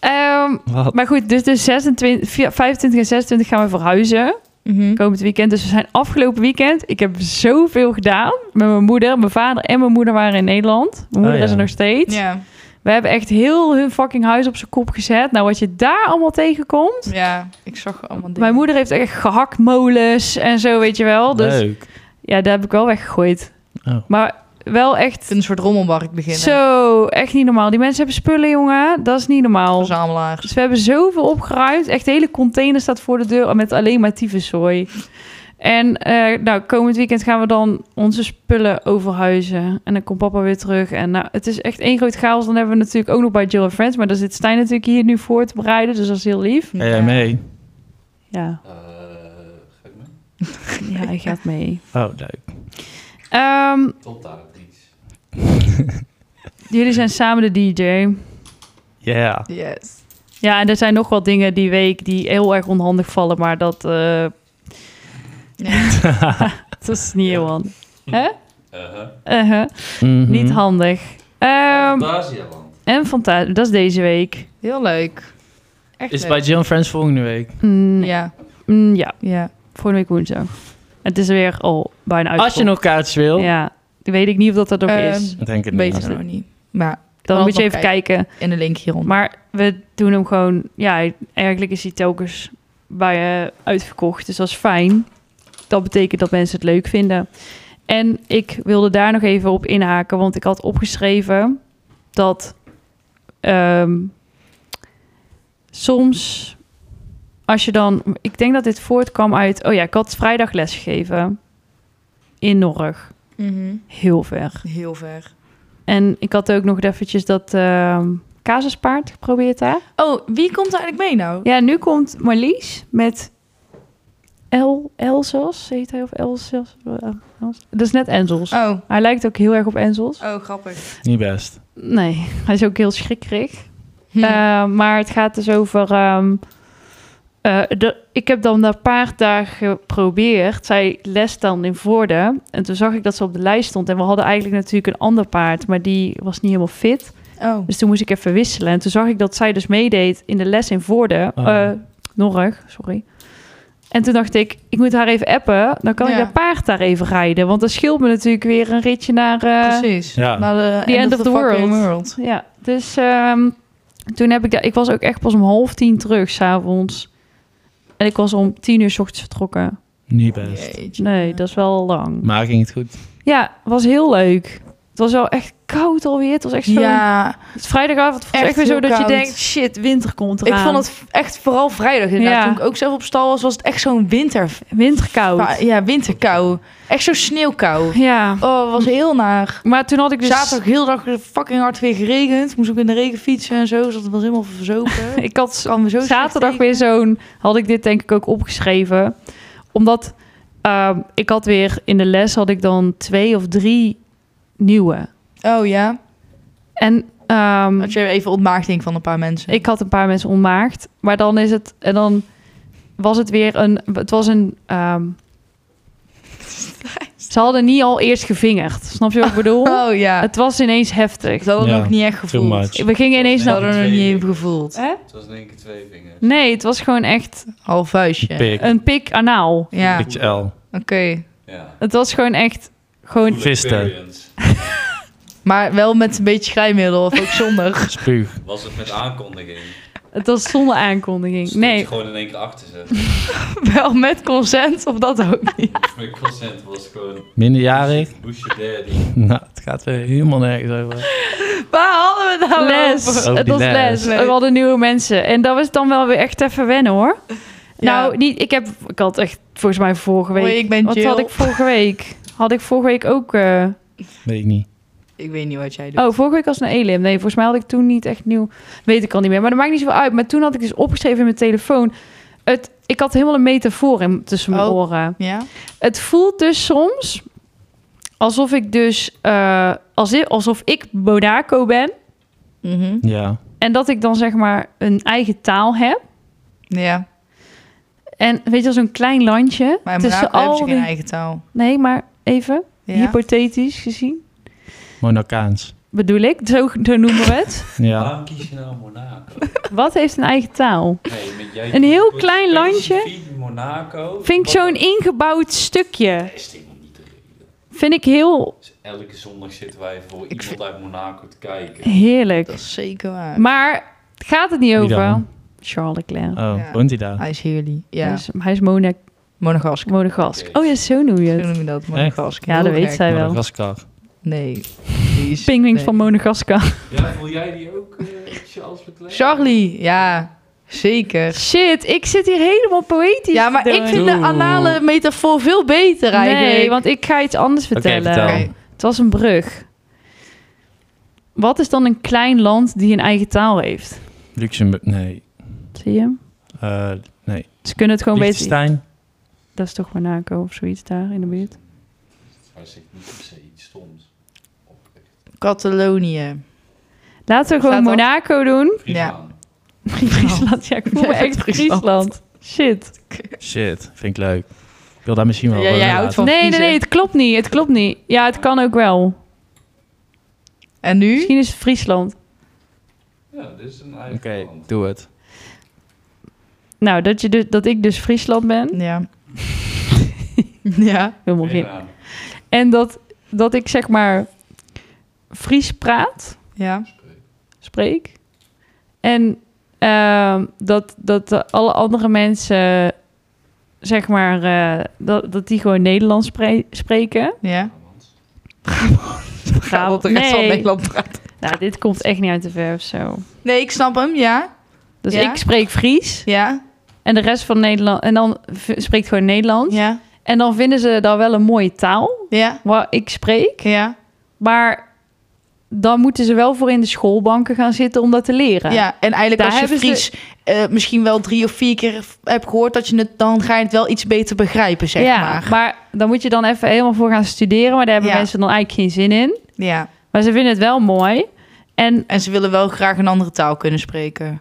Speaker 3: Ehm,
Speaker 2: Wat?
Speaker 3: maar goed, dus de 26, 25 en 26 gaan we verhuizen.
Speaker 1: Mhm.
Speaker 3: komend weekend. Dus we zijn afgelopen weekend. Ik heb zoveel gedaan met mijn moeder. Mijn vader en mijn moeder waren in Nederland. Mijn moeder
Speaker 2: Oh ja.
Speaker 3: is er nog steeds.
Speaker 1: Ja.
Speaker 3: We hebben echt heel hun fucking huis op zijn kop gezet. Nou, wat je daar allemaal tegenkomt.
Speaker 1: ja, ik zag allemaal dingen.
Speaker 3: Mijn moeder heeft echt gehaktmolens en zo, weet je wel. Dus
Speaker 2: Leuk.
Speaker 3: ja, daar heb ik wel weggegooid.
Speaker 2: Oh.
Speaker 3: Maar wel
Speaker 1: Ik
Speaker 3: echt
Speaker 1: vind een soort rommelmarkt beginnen.
Speaker 3: zo, echt niet normaal. Die mensen hebben spullen, jongen. Dat is niet normaal.
Speaker 1: Verzamelaars.
Speaker 3: Dus we hebben zoveel opgeruimd. Echt de hele container staat voor de deur met alleen maar tyfuszooi. En eh, nou, komend weekend gaan we dan onze spullen overhuizen. En dan komt papa weer terug. En nou, het is echt één groot chaos. Dan hebben we natuurlijk ook nog bij Jill Friends. Maar daar zit Stijn natuurlijk hier nu voor te bereiden. Dus dat is heel lief.
Speaker 2: Ga jij mee?
Speaker 3: Ja,
Speaker 4: Eh, ga ik mee?
Speaker 3: ja hij gaat mee.
Speaker 2: Oh, leuk.
Speaker 3: Ehm,
Speaker 4: Tot daar, Dries.
Speaker 3: jullie zijn samen de DJ.
Speaker 2: Ja.
Speaker 1: Yes.
Speaker 3: Ja, en er zijn nog wat dingen die week die heel erg onhandig vallen. Maar dat, eh,
Speaker 1: Ja.
Speaker 3: dat is niet heel handig.
Speaker 4: Uh-huh.
Speaker 3: Uh-huh.
Speaker 2: Mhm.
Speaker 3: Niet handig. Ehm,
Speaker 4: Fantasialand.
Speaker 3: En Fantasie, dat is deze week.
Speaker 1: Heel leuk. Echt
Speaker 2: Is
Speaker 1: leuk.
Speaker 2: bij Jill and Friends volgende week.
Speaker 3: Mm, ja.
Speaker 1: Ja,
Speaker 3: Mm, ja,
Speaker 1: ja.
Speaker 3: volgende week woensdag. Het is weer al bijna uit.
Speaker 2: Als je nog kaartjes wil.
Speaker 3: Ja, weet ik niet of dat er nog
Speaker 1: Ehm,
Speaker 3: is.
Speaker 2: Denk het
Speaker 1: Weet
Speaker 2: niet.
Speaker 1: ik nog niet. Maar
Speaker 3: Dan
Speaker 1: wel
Speaker 3: moet je
Speaker 1: nog
Speaker 3: even kijken.
Speaker 1: in de link hieronder.
Speaker 3: Maar we doen hem gewoon... Ja, eigenlijk is hij telkens bij eh, uitverkocht. Dus dat is fijn. Dat betekent dat mensen het leuk vinden. En ik wilde daar nog even op inhaken. Want ik had opgeschreven dat... ehm, soms als je dan... Ik denk dat dit voortkwam uit... Oh ja, ik had vrijdag lesgegeven. In Norg.
Speaker 1: Mhm.
Speaker 3: Heel ver.
Speaker 1: Heel ver.
Speaker 3: En ik had ook nog eventjes dat... ehm Casuspaard geprobeerd daar.
Speaker 1: Oh, wie komt er eigenlijk mee nou?
Speaker 3: Ja, nu komt Marlies met El, Elzos, heet hij, of Elzos? Eh, Els- Dat is net Enzels.
Speaker 1: Oh,
Speaker 3: Hij lijkt ook heel erg op Enzels.
Speaker 1: oh grappig.
Speaker 2: Niet best.
Speaker 3: Nee, hij is ook heel schrikkerig.
Speaker 1: Hm.
Speaker 3: Eh, maar het gaat dus over... ehm, eh, de, ik heb dan dat paard daar geprobeerd. Zij les dan in Voorde. En toen zag ik dat ze op de lijst stond. En we hadden eigenlijk natuurlijk een ander paard. Maar die was niet helemaal fit.
Speaker 1: oh.
Speaker 3: Dus toen moest ik even wisselen. En toen zag ik dat zij dus meedeed in de les in Voorde.
Speaker 2: Oh.
Speaker 3: eh Norrig, sorry. En toen dacht ik, ik moet haar even appen. Dan kan
Speaker 1: Ja.
Speaker 3: ik haar paard daar even rijden. Want dat scheelt me natuurlijk weer een ritje naar... eh,
Speaker 1: Precies.
Speaker 2: Ja.
Speaker 1: Naar de
Speaker 3: The end of the
Speaker 1: fucking
Speaker 3: world. ja, dus ehm, toen heb ik... daar- Ik was ook echt pas om half tien terug, s'avonds. En ik was om tien uur s ochtends vertrokken.
Speaker 2: Niet
Speaker 3: Oh,
Speaker 2: best.
Speaker 1: Jeetje.
Speaker 3: Nee, dat is wel lang.
Speaker 2: Maar ging het goed?
Speaker 3: Ja, was heel leuk. Het was wel echt koud alweer. Het was echt zo...
Speaker 1: Ja,
Speaker 3: Het is vrijdagavond het was
Speaker 1: Echt
Speaker 3: echt, weer zo
Speaker 1: heel
Speaker 3: dat
Speaker 1: koud.
Speaker 3: je denkt... Shit, winter komt
Speaker 1: ik
Speaker 3: eraan.
Speaker 1: vond het echt vooral vrijdag inderdaad.
Speaker 3: Ja.
Speaker 1: Toen ik ook zelf op stal was, was het echt zo'n winter...
Speaker 3: Winterkoud.
Speaker 1: Ja, winterkou. Echt zo'n sneeuwkou.
Speaker 3: Ja,
Speaker 1: Oh, was heel naar.
Speaker 3: maar toen had ik dus...
Speaker 1: Zaterdag heel dag fucking hard weer geregend. Moest ook in de regen fietsen en zo. Dus dat was helemaal verzopen.
Speaker 3: Ik had
Speaker 1: kan me zo slecht
Speaker 3: zaterdag
Speaker 1: tegen.
Speaker 3: weer zo'n... Had ik dit denk ik ook opgeschreven. Omdat ehm, ik had weer in de les had ik dan twee of drie nieuwe.
Speaker 1: Oh ja.
Speaker 3: En Ehm,
Speaker 1: Had je even ontmaagding van een paar mensen?
Speaker 3: Ik had een paar mensen onmaagd. Maar dan is het. En dan was het weer een. Het was een. ehm, ze hadden niet al eerst gevingerd. Snap je wat ik bedoel?
Speaker 1: Oh ja,
Speaker 3: Het was ineens heftig.
Speaker 1: ik had het
Speaker 5: Ja,
Speaker 1: ook niet echt
Speaker 5: too
Speaker 1: gevoeld.
Speaker 5: much.
Speaker 3: We gingen ineens
Speaker 1: Ik had
Speaker 3: naar.
Speaker 4: Nee.
Speaker 1: er nog niet even gevoeld.
Speaker 3: Hè?
Speaker 4: Het was in één keer twee vingers.
Speaker 3: Nee, het was gewoon echt
Speaker 1: Half vuistje.
Speaker 5: Pik.
Speaker 3: een pik anaal.
Speaker 1: Ja, oké.
Speaker 5: Pikje L.
Speaker 4: Ja.
Speaker 3: Het was gewoon echt. Gewoon.
Speaker 4: Full
Speaker 5: Visten.
Speaker 4: experience.
Speaker 1: Maar wel met een beetje schrijmiddel of ook zonder.
Speaker 2: Spuug.
Speaker 4: Was het met aankondiging?
Speaker 3: Het was zonder aankondiging.
Speaker 4: Stond
Speaker 3: Nee,
Speaker 4: je gewoon in één keer achter zetten.
Speaker 1: wel met consent of dat ook niet.
Speaker 4: Mijn consent was gewoon...
Speaker 2: Minderjarig?
Speaker 4: Who's your daddy?
Speaker 2: Nou, het gaat weer helemaal nergens over.
Speaker 1: Waar hadden we nou
Speaker 3: les.
Speaker 1: over?
Speaker 2: Oh,
Speaker 3: Het
Speaker 2: die
Speaker 3: was les.
Speaker 2: les.
Speaker 1: Nee.
Speaker 3: We hadden nieuwe mensen. En dat was dan wel weer echt even wennen hoor.
Speaker 1: Ja.
Speaker 3: Nou, niet, ik, heb, ik had echt volgens mij vorige week.
Speaker 1: Hoi, ik ben
Speaker 3: Wat
Speaker 1: Jill.
Speaker 3: had ik vorige week? Had ik vorige week ook... eh,
Speaker 2: Weet ik niet.
Speaker 1: Ik weet niet wat jij doet.
Speaker 3: Oh, vorige week was het een elim. Nee, volgens mij had ik toen niet echt nieuw... Weet ik al niet meer. Maar dat maakt niet zoveel uit. Maar toen had ik dus opgeschreven in mijn telefoon... Het, ik had helemaal een metafoor in, tussen mijn
Speaker 1: Oh.
Speaker 3: oren.
Speaker 1: Ja?
Speaker 3: Het voelt dus soms alsof ik dus... eh, als i- alsof ik Monaco ben.
Speaker 1: Mhm.
Speaker 2: Ja.
Speaker 3: En dat ik dan zeg maar een eigen taal heb.
Speaker 1: Ja,
Speaker 3: En weet je, wel, zo'n klein landje.
Speaker 1: maar in
Speaker 3: tussen
Speaker 1: Monaco hebben
Speaker 3: al
Speaker 1: ze
Speaker 3: die...
Speaker 1: geen eigen taal.
Speaker 3: Nee, maar even
Speaker 1: Ja.
Speaker 3: hypothetisch gezien.
Speaker 2: Monacaans.
Speaker 3: Bedoel ik, zo, zo noemen we het.
Speaker 2: Ja.
Speaker 4: Waarom kies je nou Monaco?
Speaker 3: Wat heeft een eigen taal?
Speaker 4: Nee, met jij
Speaker 3: Een heel klein landje.
Speaker 4: Specifiek Monaco.
Speaker 3: Vind ik
Speaker 4: Wat-
Speaker 3: zo'n ingebouwd stukje.
Speaker 4: Dat is helemaal niet de reden.
Speaker 3: Vind ik heel
Speaker 4: Dus elke zondag zitten wij voor iemand
Speaker 3: vind-
Speaker 4: uit Monaco te kijken.
Speaker 3: heerlijk.
Speaker 1: Dat is eh, zeker waar.
Speaker 3: Maar gaat het niet
Speaker 2: Wie
Speaker 3: over?
Speaker 2: dan?
Speaker 3: Charles Leclerc.
Speaker 2: Oh,
Speaker 1: Ja.
Speaker 2: woont hij daar?
Speaker 1: Hij is Heerly.
Speaker 3: Hij
Speaker 1: Ja,
Speaker 3: is, hij is Mona-
Speaker 1: Monegask.
Speaker 3: Monegask. Oh ja, zo noem je
Speaker 1: Zo
Speaker 3: het.
Speaker 1: noem je dat, Monegask.
Speaker 3: Ja, dat weet zij wel.
Speaker 2: Madagaskar.
Speaker 1: Nee. die is-
Speaker 3: Pingwing
Speaker 1: nee.
Speaker 3: van Monegaskar.
Speaker 4: Ja, voel jij die ook, eh, Charles Leclerc?
Speaker 1: Charlie, ja, zeker.
Speaker 3: Shit, ik zit hier helemaal poëtisch.
Speaker 1: Ja, maar
Speaker 3: te
Speaker 1: ik
Speaker 3: doen.
Speaker 1: vind de anale metafoor veel beter eigenlijk.
Speaker 3: Nee, want ik ga iets anders
Speaker 2: Oké,
Speaker 3: vertellen.
Speaker 2: vertel.
Speaker 1: Oké.
Speaker 3: Het was een brug. Wat is dan een klein land die een eigen taal heeft?
Speaker 2: Luxemburg. Nee.
Speaker 3: Zie je?
Speaker 2: Eh, nee.
Speaker 3: Ze kunnen het gewoon beter.
Speaker 2: Liechtenstein?
Speaker 3: Dat is toch Monaco of zoiets daar in de buurt?
Speaker 4: Hij zegt niet per se iets stoms. Oprecht.
Speaker 1: Catalonië.
Speaker 3: Laten we gewoon
Speaker 1: Staat al-
Speaker 3: Monaco doen.
Speaker 4: Friesland.
Speaker 3: Friesland, ja, ik voel me
Speaker 1: Ja,
Speaker 3: echt
Speaker 1: Friesland.
Speaker 3: Friesland. Shit.
Speaker 2: Shit, vind ik leuk. Ik wil daar misschien wel
Speaker 1: Ja,
Speaker 2: over
Speaker 1: jij
Speaker 2: na
Speaker 1: houdt
Speaker 2: laten.
Speaker 1: Van
Speaker 3: nee, nee,
Speaker 1: Friesen.
Speaker 3: nee, het klopt niet. Het klopt niet. Ja, het kan ook wel.
Speaker 1: En nu?
Speaker 3: Misschien is het Friesland.
Speaker 4: Ja, dit is een eigen
Speaker 2: Oké,
Speaker 4: land.
Speaker 2: doe het.
Speaker 3: Nou, dat, je dus, dat ik dus Friesland ben.
Speaker 1: Ja. ja.
Speaker 3: Helemaal geen.
Speaker 4: Bijnaam.
Speaker 3: En dat, dat ik zeg maar Fries praat,
Speaker 1: Ja.
Speaker 3: spreek. En ehm, dat, dat eh, alle andere mensen, zeg maar, eh, dat, dat die gewoon Nederlands spre- spreken.
Speaker 1: Ja.
Speaker 4: Brabants.
Speaker 1: Gaat dat de rest van
Speaker 3: nee.
Speaker 1: Nederland praat.
Speaker 3: Nou, dit komt echt niet uit de verf zo.
Speaker 1: Nee, ik snap hem. Ja.
Speaker 3: Dus
Speaker 1: Ja?
Speaker 3: ik spreek Fries.
Speaker 1: Ja.
Speaker 3: En de rest van Nederland. En dan v- spreekt gewoon Nederlands.
Speaker 1: Ja.
Speaker 3: En dan vinden ze daar wel een mooie taal.
Speaker 1: Ja.
Speaker 3: Waar ik spreek.
Speaker 1: Ja.
Speaker 3: Maar dan moeten ze wel voor in de schoolbanken gaan zitten om dat te leren.
Speaker 1: Ja. En eigenlijk
Speaker 3: Daar
Speaker 1: als je
Speaker 3: hebben ze-
Speaker 1: Fries eh, misschien wel drie of vier keer hebt gehoord dat je het, dan ga je het wel iets beter begrijpen, zeg
Speaker 3: Ja,
Speaker 1: maar.
Speaker 3: dan moet je dan even helemaal voor gaan studeren. Maar daar hebben
Speaker 1: Ja.
Speaker 3: mensen dan eigenlijk geen zin in.
Speaker 1: Ja.
Speaker 3: Maar ze vinden het wel mooi. En
Speaker 1: En ze willen wel graag een andere taal kunnen spreken.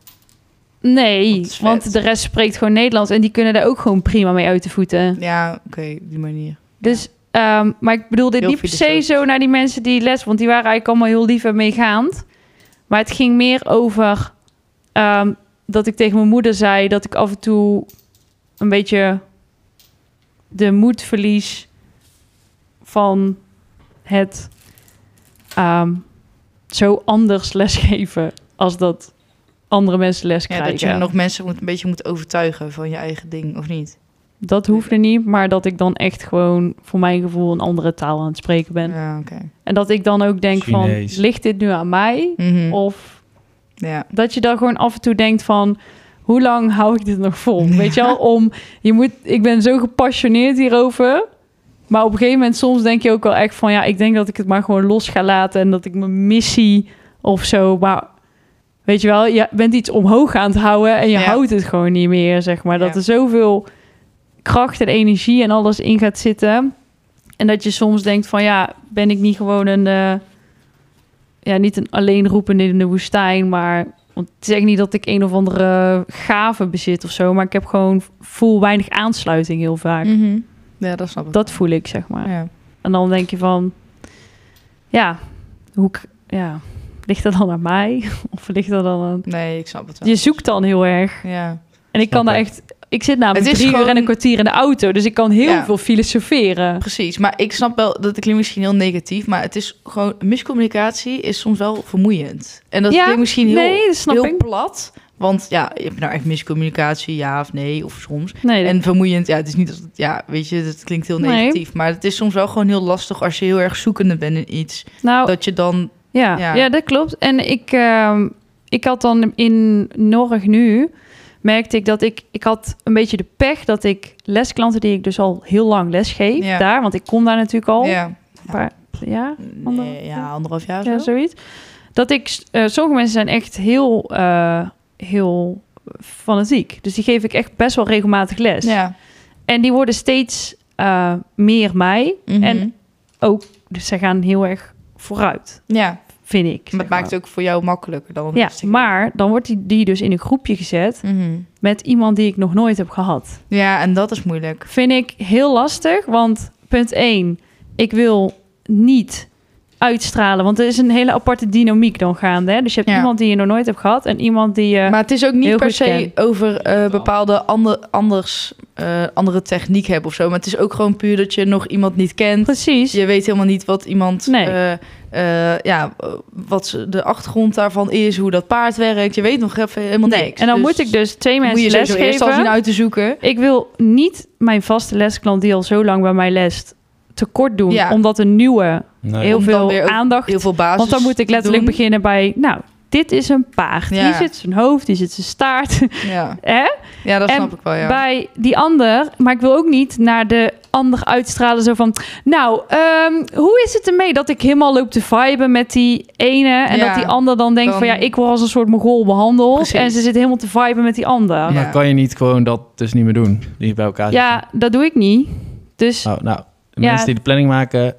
Speaker 3: nee,
Speaker 1: Wat vet.
Speaker 3: want de rest spreekt gewoon Nederlands. En die kunnen daar ook gewoon prima mee uit de voeten.
Speaker 1: Ja, oké, op die manier.
Speaker 3: Dus, ehm, maar ik bedoel dit
Speaker 1: Heel
Speaker 3: niet per se
Speaker 1: filosofisch.
Speaker 3: zo naar die mensen die les... want die waren eigenlijk allemaal heel lief en meegaand. Maar het ging meer over ehm, dat ik tegen mijn moeder zei... dat ik af en toe een beetje de moed verlies van het ehm, zo anders lesgeven... als dat andere mensen les
Speaker 1: Ja,
Speaker 3: krijgen.
Speaker 1: dat je nog mensen moet, een beetje moet overtuigen van je eigen ding, of niet?
Speaker 3: Dat hoefde niet, maar dat ik dan echt gewoon... voor mijn gevoel een andere taal aan het spreken ben.
Speaker 1: Ja, oké.
Speaker 3: En dat ik dan ook denk
Speaker 2: Chinees.
Speaker 3: van, ligt dit nu aan mij?
Speaker 1: Mhm.
Speaker 3: Of
Speaker 1: Ja.
Speaker 3: dat je dan gewoon af en toe denkt van, hoe lang hou ik dit nog vol? Weet je wel, om, je moet, ik ben zo gepassioneerd hierover. Maar op een gegeven moment soms denk je ook wel echt van, ja, ik denk dat ik het maar gewoon los ga laten. En dat ik mijn missie of zo, maar weet je wel, je bent iets omhoog aan het houden. En je
Speaker 1: Ja.
Speaker 3: houdt het gewoon niet meer, zeg maar. Dat
Speaker 1: Ja.
Speaker 3: er zoveel kracht en energie en alles in gaat zitten. En dat je soms denkt van ja, ben ik niet gewoon een, eh, ja, niet een alleenroepende in de woestijn, maar want het is echt niet dat ik een of andere gave bezit of zo, maar ik heb gewoon voel weinig aansluiting heel vaak.
Speaker 1: Mhm. Ja, dat snap ik.
Speaker 3: Dat voel ik zeg maar.
Speaker 1: ja.
Speaker 3: En dan denk je van, ja, hoe ik- ja, ligt dat dan aan mij of ligt dat dan aan?
Speaker 1: Nee, ik snap het wel.
Speaker 3: Je zoekt dan heel erg.
Speaker 1: Ja.
Speaker 3: En ik kan
Speaker 2: Snap
Speaker 3: daar
Speaker 2: ik.
Speaker 3: echt. Ik zit
Speaker 1: Het
Speaker 3: namelijk
Speaker 1: is
Speaker 3: drie uur en
Speaker 1: gewoon-
Speaker 3: een kwartier in de auto, dus ik kan heel
Speaker 1: Ja.
Speaker 3: veel filosoferen.
Speaker 1: Precies, maar ik snap wel dat klinkt misschien heel negatief, maar het is gewoon miscommunicatie is soms wel vermoeiend. En dat
Speaker 3: Ja,
Speaker 1: klinkt misschien heel,
Speaker 3: nee, dat snap
Speaker 1: heel
Speaker 3: ik.
Speaker 1: plat, want ja, heb je nou echt miscommunicatie, ja of nee, of soms.
Speaker 3: Nee,
Speaker 1: En vermoeiend, ja, het is niet dat het, ja, weet je, het klinkt heel
Speaker 3: Nee.
Speaker 1: negatief, maar het is soms wel gewoon heel lastig als je heel erg zoekende bent in iets,
Speaker 3: nou,
Speaker 1: dat je dan,
Speaker 3: Ja,
Speaker 1: Ja.
Speaker 3: ja. dat klopt. En ik, ehm, ik had dan in Norg nu, merkte ik dat ik, ik had een beetje de pech dat ik lesklanten die ik dus al heel lang lesgeef
Speaker 1: Ja.
Speaker 3: daar, want ik kom daar natuurlijk al, ja,
Speaker 1: ja,
Speaker 3: ja, Anderhalf
Speaker 1: nee, ja,
Speaker 3: jaar?
Speaker 1: anderhalf jaar of zo.
Speaker 3: zoiets. Dat ik, s- eh, sommige mensen zijn echt heel, eh heel fanatiek. Dus die geef ik echt best wel regelmatig les.
Speaker 1: Ja.
Speaker 3: En die worden steeds eh, meer mij.
Speaker 1: Mhm.
Speaker 3: En- Dus zij gaan heel erg vooruit,
Speaker 1: ja,
Speaker 3: vind ik.
Speaker 1: maar
Speaker 3: zeg
Speaker 1: het maakt het ook voor jou makkelijker dan. om dus
Speaker 3: Ja,
Speaker 1: te stikken.
Speaker 3: maar dan wordt die, die dus in een groepje gezet
Speaker 1: Mhm.
Speaker 3: met iemand die ik nog nooit heb gehad.
Speaker 1: Ja, en dat is moeilijk.
Speaker 3: Vind ik heel lastig, want punt 1, ik wil niet uitstralen, want er is een hele aparte dynamiek dan gaande. Hè? Dus je hebt
Speaker 1: Ja.
Speaker 3: iemand die je nog nooit hebt gehad en iemand die je...
Speaker 1: Maar het is ook niet
Speaker 3: heel
Speaker 1: per
Speaker 3: goed
Speaker 1: se
Speaker 3: ken.
Speaker 1: over eh, bepaalde ander, anders, eh, andere techniek hebben of zo. Maar het is ook gewoon puur dat je nog iemand niet kent.
Speaker 3: Precies.
Speaker 1: Je weet helemaal niet wat iemand,
Speaker 3: Nee.
Speaker 1: eh, eh, ja, eh, wat ze- de achtergrond daarvan is, hoe dat paard werkt. Je weet nog even helemaal
Speaker 3: nee.
Speaker 1: niks.
Speaker 3: En dan
Speaker 1: Dus
Speaker 3: moet ik dus twee
Speaker 1: moet je
Speaker 3: mensen
Speaker 1: sowieso eerst al zien
Speaker 3: lesgeven.
Speaker 1: uit te zoeken.
Speaker 3: Ik wil niet mijn vaste lesklant die al zo lang bij mij lest tekort doen,
Speaker 1: Ja.
Speaker 3: omdat een nieuwe
Speaker 2: Nee.
Speaker 3: heel
Speaker 1: Om dan
Speaker 3: veel
Speaker 1: weer ook
Speaker 3: aandacht
Speaker 1: Heel veel basis.
Speaker 3: Want dan moet ik letterlijk
Speaker 1: doen.
Speaker 3: beginnen bij, nou, dit is een paard.
Speaker 1: Ja.
Speaker 3: Hier zit zijn hoofd, hier zit zijn staart.
Speaker 1: Ja,
Speaker 3: Hè?
Speaker 1: ja dat
Speaker 3: En
Speaker 1: snap ik wel, Oh ja.
Speaker 3: Bij die ander, maar ik wil ook niet naar de ander uitstralen zo van, nou, ehm, hoe is het ermee dat ik helemaal loop te viben met die ene en
Speaker 1: Ja.
Speaker 3: dat die ander dan denkt
Speaker 1: Dan-
Speaker 3: van, ja, ik word als een soort mogol behandeld
Speaker 1: Precies.
Speaker 3: en ze zit helemaal te viben met die ander.
Speaker 1: Ja.
Speaker 3: Ja,
Speaker 2: Maar kan je niet gewoon dat dus niet meer doen? Die bij elkaar
Speaker 3: dat doe ik niet. Dus
Speaker 2: zitten? Oh, nou, de
Speaker 3: Ja.
Speaker 2: mensen die de planning maken,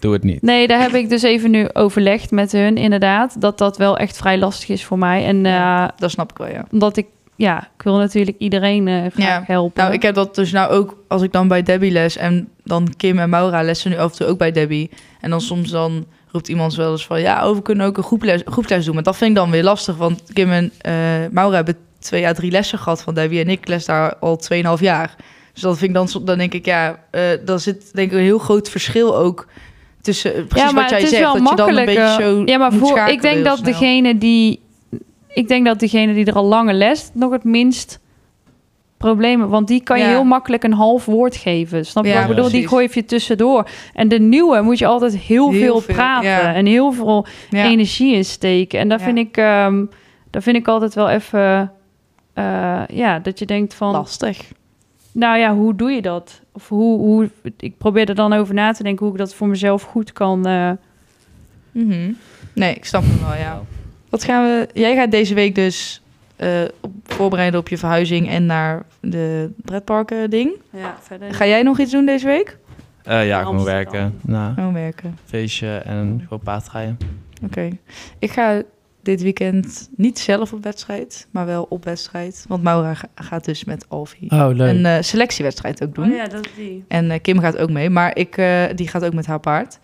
Speaker 2: doe het niet.
Speaker 3: nee, daar heb ik dus even nu overlegd met hun, inderdaad, dat dat wel echt vrij lastig is voor mij. En
Speaker 1: Ja,
Speaker 3: eh,
Speaker 1: dat snap ik wel, ja.
Speaker 3: Omdat ik, ja, ik wil natuurlijk iedereen eh, graag
Speaker 1: Ja.
Speaker 3: helpen.
Speaker 1: Nou, ik heb dat dus nou ook als ik dan bij Debbie les en dan Kim en Maura lessen nu af en toe ook bij Debbie. En dan soms dan roept iemand wel eens van ja, oh, we kunnen ook een groeples, groepsles doen. Maar dat vind ik dan weer lastig, want Kim en eh, Maura hebben twee à drie lessen gehad van Debbie en ik les daar al 2,5 jaar. Dus dat vind ik dan, som- dan denk ik ja, eh dan zit denk ik een heel groot verschil ook tussen eh, precies
Speaker 3: ja, maar
Speaker 1: wat jij
Speaker 3: het is
Speaker 1: zegt,
Speaker 3: wel
Speaker 1: dat je dan een beetje
Speaker 3: makkelijker.
Speaker 1: zo
Speaker 3: ja, maar
Speaker 1: moet
Speaker 3: voor,
Speaker 1: schakelen
Speaker 3: ik denk
Speaker 1: heel
Speaker 3: dat
Speaker 1: snel.
Speaker 3: degene die, ik denk dat degene die er al lange les nog het minst problemen, want die kan je
Speaker 1: Ja.
Speaker 3: heel makkelijk een half woord geven. Snap je?
Speaker 1: Ja,
Speaker 3: wat ik bedoel, die
Speaker 1: precies.
Speaker 3: gooi je tussendoor. En de nieuwe moet je altijd heel,
Speaker 1: Heel
Speaker 3: veel
Speaker 1: veel,
Speaker 3: praten
Speaker 1: ja.
Speaker 3: en heel veel
Speaker 1: ja.
Speaker 3: energie in steken. En daar
Speaker 1: Ja.
Speaker 3: vind ik, ehm daar vind ik altijd wel even, eh, ja, dat je denkt van,
Speaker 1: lastig.
Speaker 3: Nou ja, hoe doe je dat? Of hoe, hoe, ik probeer er dan over na te denken hoe ik dat voor mezelf goed kan. eh,
Speaker 1: Mhm. Nee, ik snap hem wel, ja.
Speaker 4: Ja.
Speaker 1: Wat gaan we... Jij gaat deze week dus eh, op, voorbereiden op je verhuizing en naar de pretparken ding.
Speaker 3: ja, verder.
Speaker 1: Ga jij nog iets doen deze week?
Speaker 2: Eh, ja, gewoon
Speaker 3: Amsterdam.
Speaker 2: werken. Nou,
Speaker 1: Oh, werken.
Speaker 2: feestje en gewoon paardrijden.
Speaker 1: Oké. Ik ga dit weekend niet zelf op wedstrijd, maar wel op wedstrijd. Want Maura ga- gaat dus met Alfie
Speaker 2: Oh, leuk.
Speaker 1: een eh, selectiewedstrijd ook doen.
Speaker 3: Oh ja, dat is die.
Speaker 1: En eh, Kim gaat ook mee, maar ik, eh, die gaat ook met haar paard.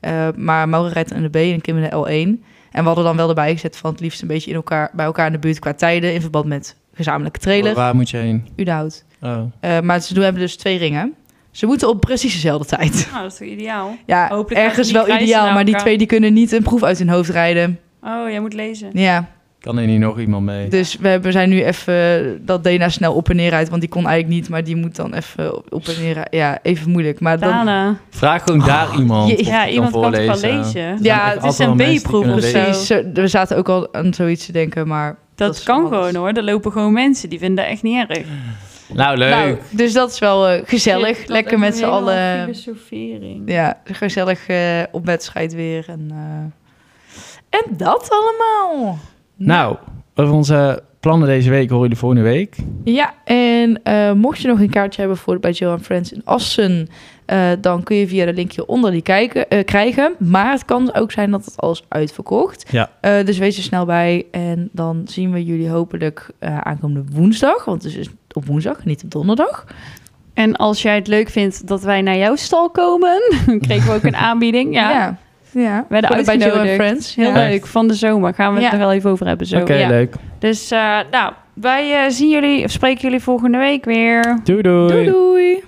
Speaker 1: Eh, maar Maura rijdt in de B en Kim in de L1. En we hadden dan wel erbij gezet van het liefst een beetje in elkaar, bij elkaar in de buurt qua tijden... in verband met gezamenlijke trailer,
Speaker 2: Waar moet je heen?
Speaker 1: Udenhout.
Speaker 2: Oh.
Speaker 1: Eh, maar ze doen, hebben dus twee ringen. Ze moeten op precies dezelfde tijd.
Speaker 3: Nou, dat is toch ideaal?
Speaker 1: Ja,
Speaker 3: Hopelijk gaan
Speaker 1: ergens
Speaker 3: ze niet
Speaker 1: wel
Speaker 3: reizen
Speaker 1: ideaal,
Speaker 3: naar
Speaker 1: maar die
Speaker 3: elkaar.
Speaker 1: twee die kunnen niet een proef uit hun hoofd rijden.
Speaker 3: Oh, jij moet lezen.
Speaker 1: Ja,
Speaker 2: Kan er niet nog iemand mee?
Speaker 1: dus we hebben, zijn nu even eh, dat Dena snel op en neer rijdt, want die kon eigenlijk niet, maar die moet dan even op- op en neer rijden. Ja, even moeilijk. Maar dan,
Speaker 3: Dana.
Speaker 2: Vraag gewoon daar iemand.
Speaker 1: je-
Speaker 2: of
Speaker 3: Oh. Ja,
Speaker 2: die
Speaker 3: iemand kan toch wel
Speaker 2: voorlezen.
Speaker 3: lezen?
Speaker 2: Er
Speaker 1: Ja,
Speaker 2: zijn echt
Speaker 1: het is
Speaker 2: altijd wel
Speaker 3: een
Speaker 2: mensen die
Speaker 3: B-proef
Speaker 2: kunnen
Speaker 3: of zo.
Speaker 2: lezen.
Speaker 1: precies. zo- We zaten ook al aan zoiets te denken, maar
Speaker 3: Dat,
Speaker 1: Dat is
Speaker 3: kan
Speaker 1: alles.
Speaker 3: gewoon hoor. Er lopen gewoon mensen die vinden dat echt niet erg.
Speaker 2: Nou, leuk.
Speaker 1: Nou, dus dat is wel eh, gezellig. Lekker met z'n allen.
Speaker 3: Filosofering.
Speaker 1: Ja, gezellig eh, op wedstrijd weer. En, eh, en dat allemaal.
Speaker 2: Nou, over onze plannen deze week hoor jullie volgende week.
Speaker 1: Ja, en eh, mocht je nog een kaartje hebben voor bij Joe and Friends in Assen, eh, dan kun je via de link hieronder die kijken, eh, krijgen. Maar het kan ook zijn dat het alles uitverkocht.
Speaker 2: Ja.
Speaker 1: Eh, dus wees er snel bij en dan zien we jullie hopelijk eh, aankomende woensdag. Want het is op woensdag, niet op donderdag.
Speaker 3: En als jij het leuk vindt dat wij naar jouw stal komen, kregen we ook een aanbieding. Ja,
Speaker 1: ja. ja.
Speaker 3: We werden
Speaker 1: Voor- bij Joe and
Speaker 3: uitgenodigd.
Speaker 1: Friends.
Speaker 3: heel
Speaker 1: Ja.
Speaker 3: leuk. Van de zomer gaan we het
Speaker 1: Ja.
Speaker 3: er wel even over hebben zo.
Speaker 2: Oké,
Speaker 1: ja.
Speaker 2: leuk.
Speaker 3: Dus eh, nou, wij eh, zien jullie of spreken jullie volgende week weer.
Speaker 2: Doei doei.
Speaker 1: Doei doei.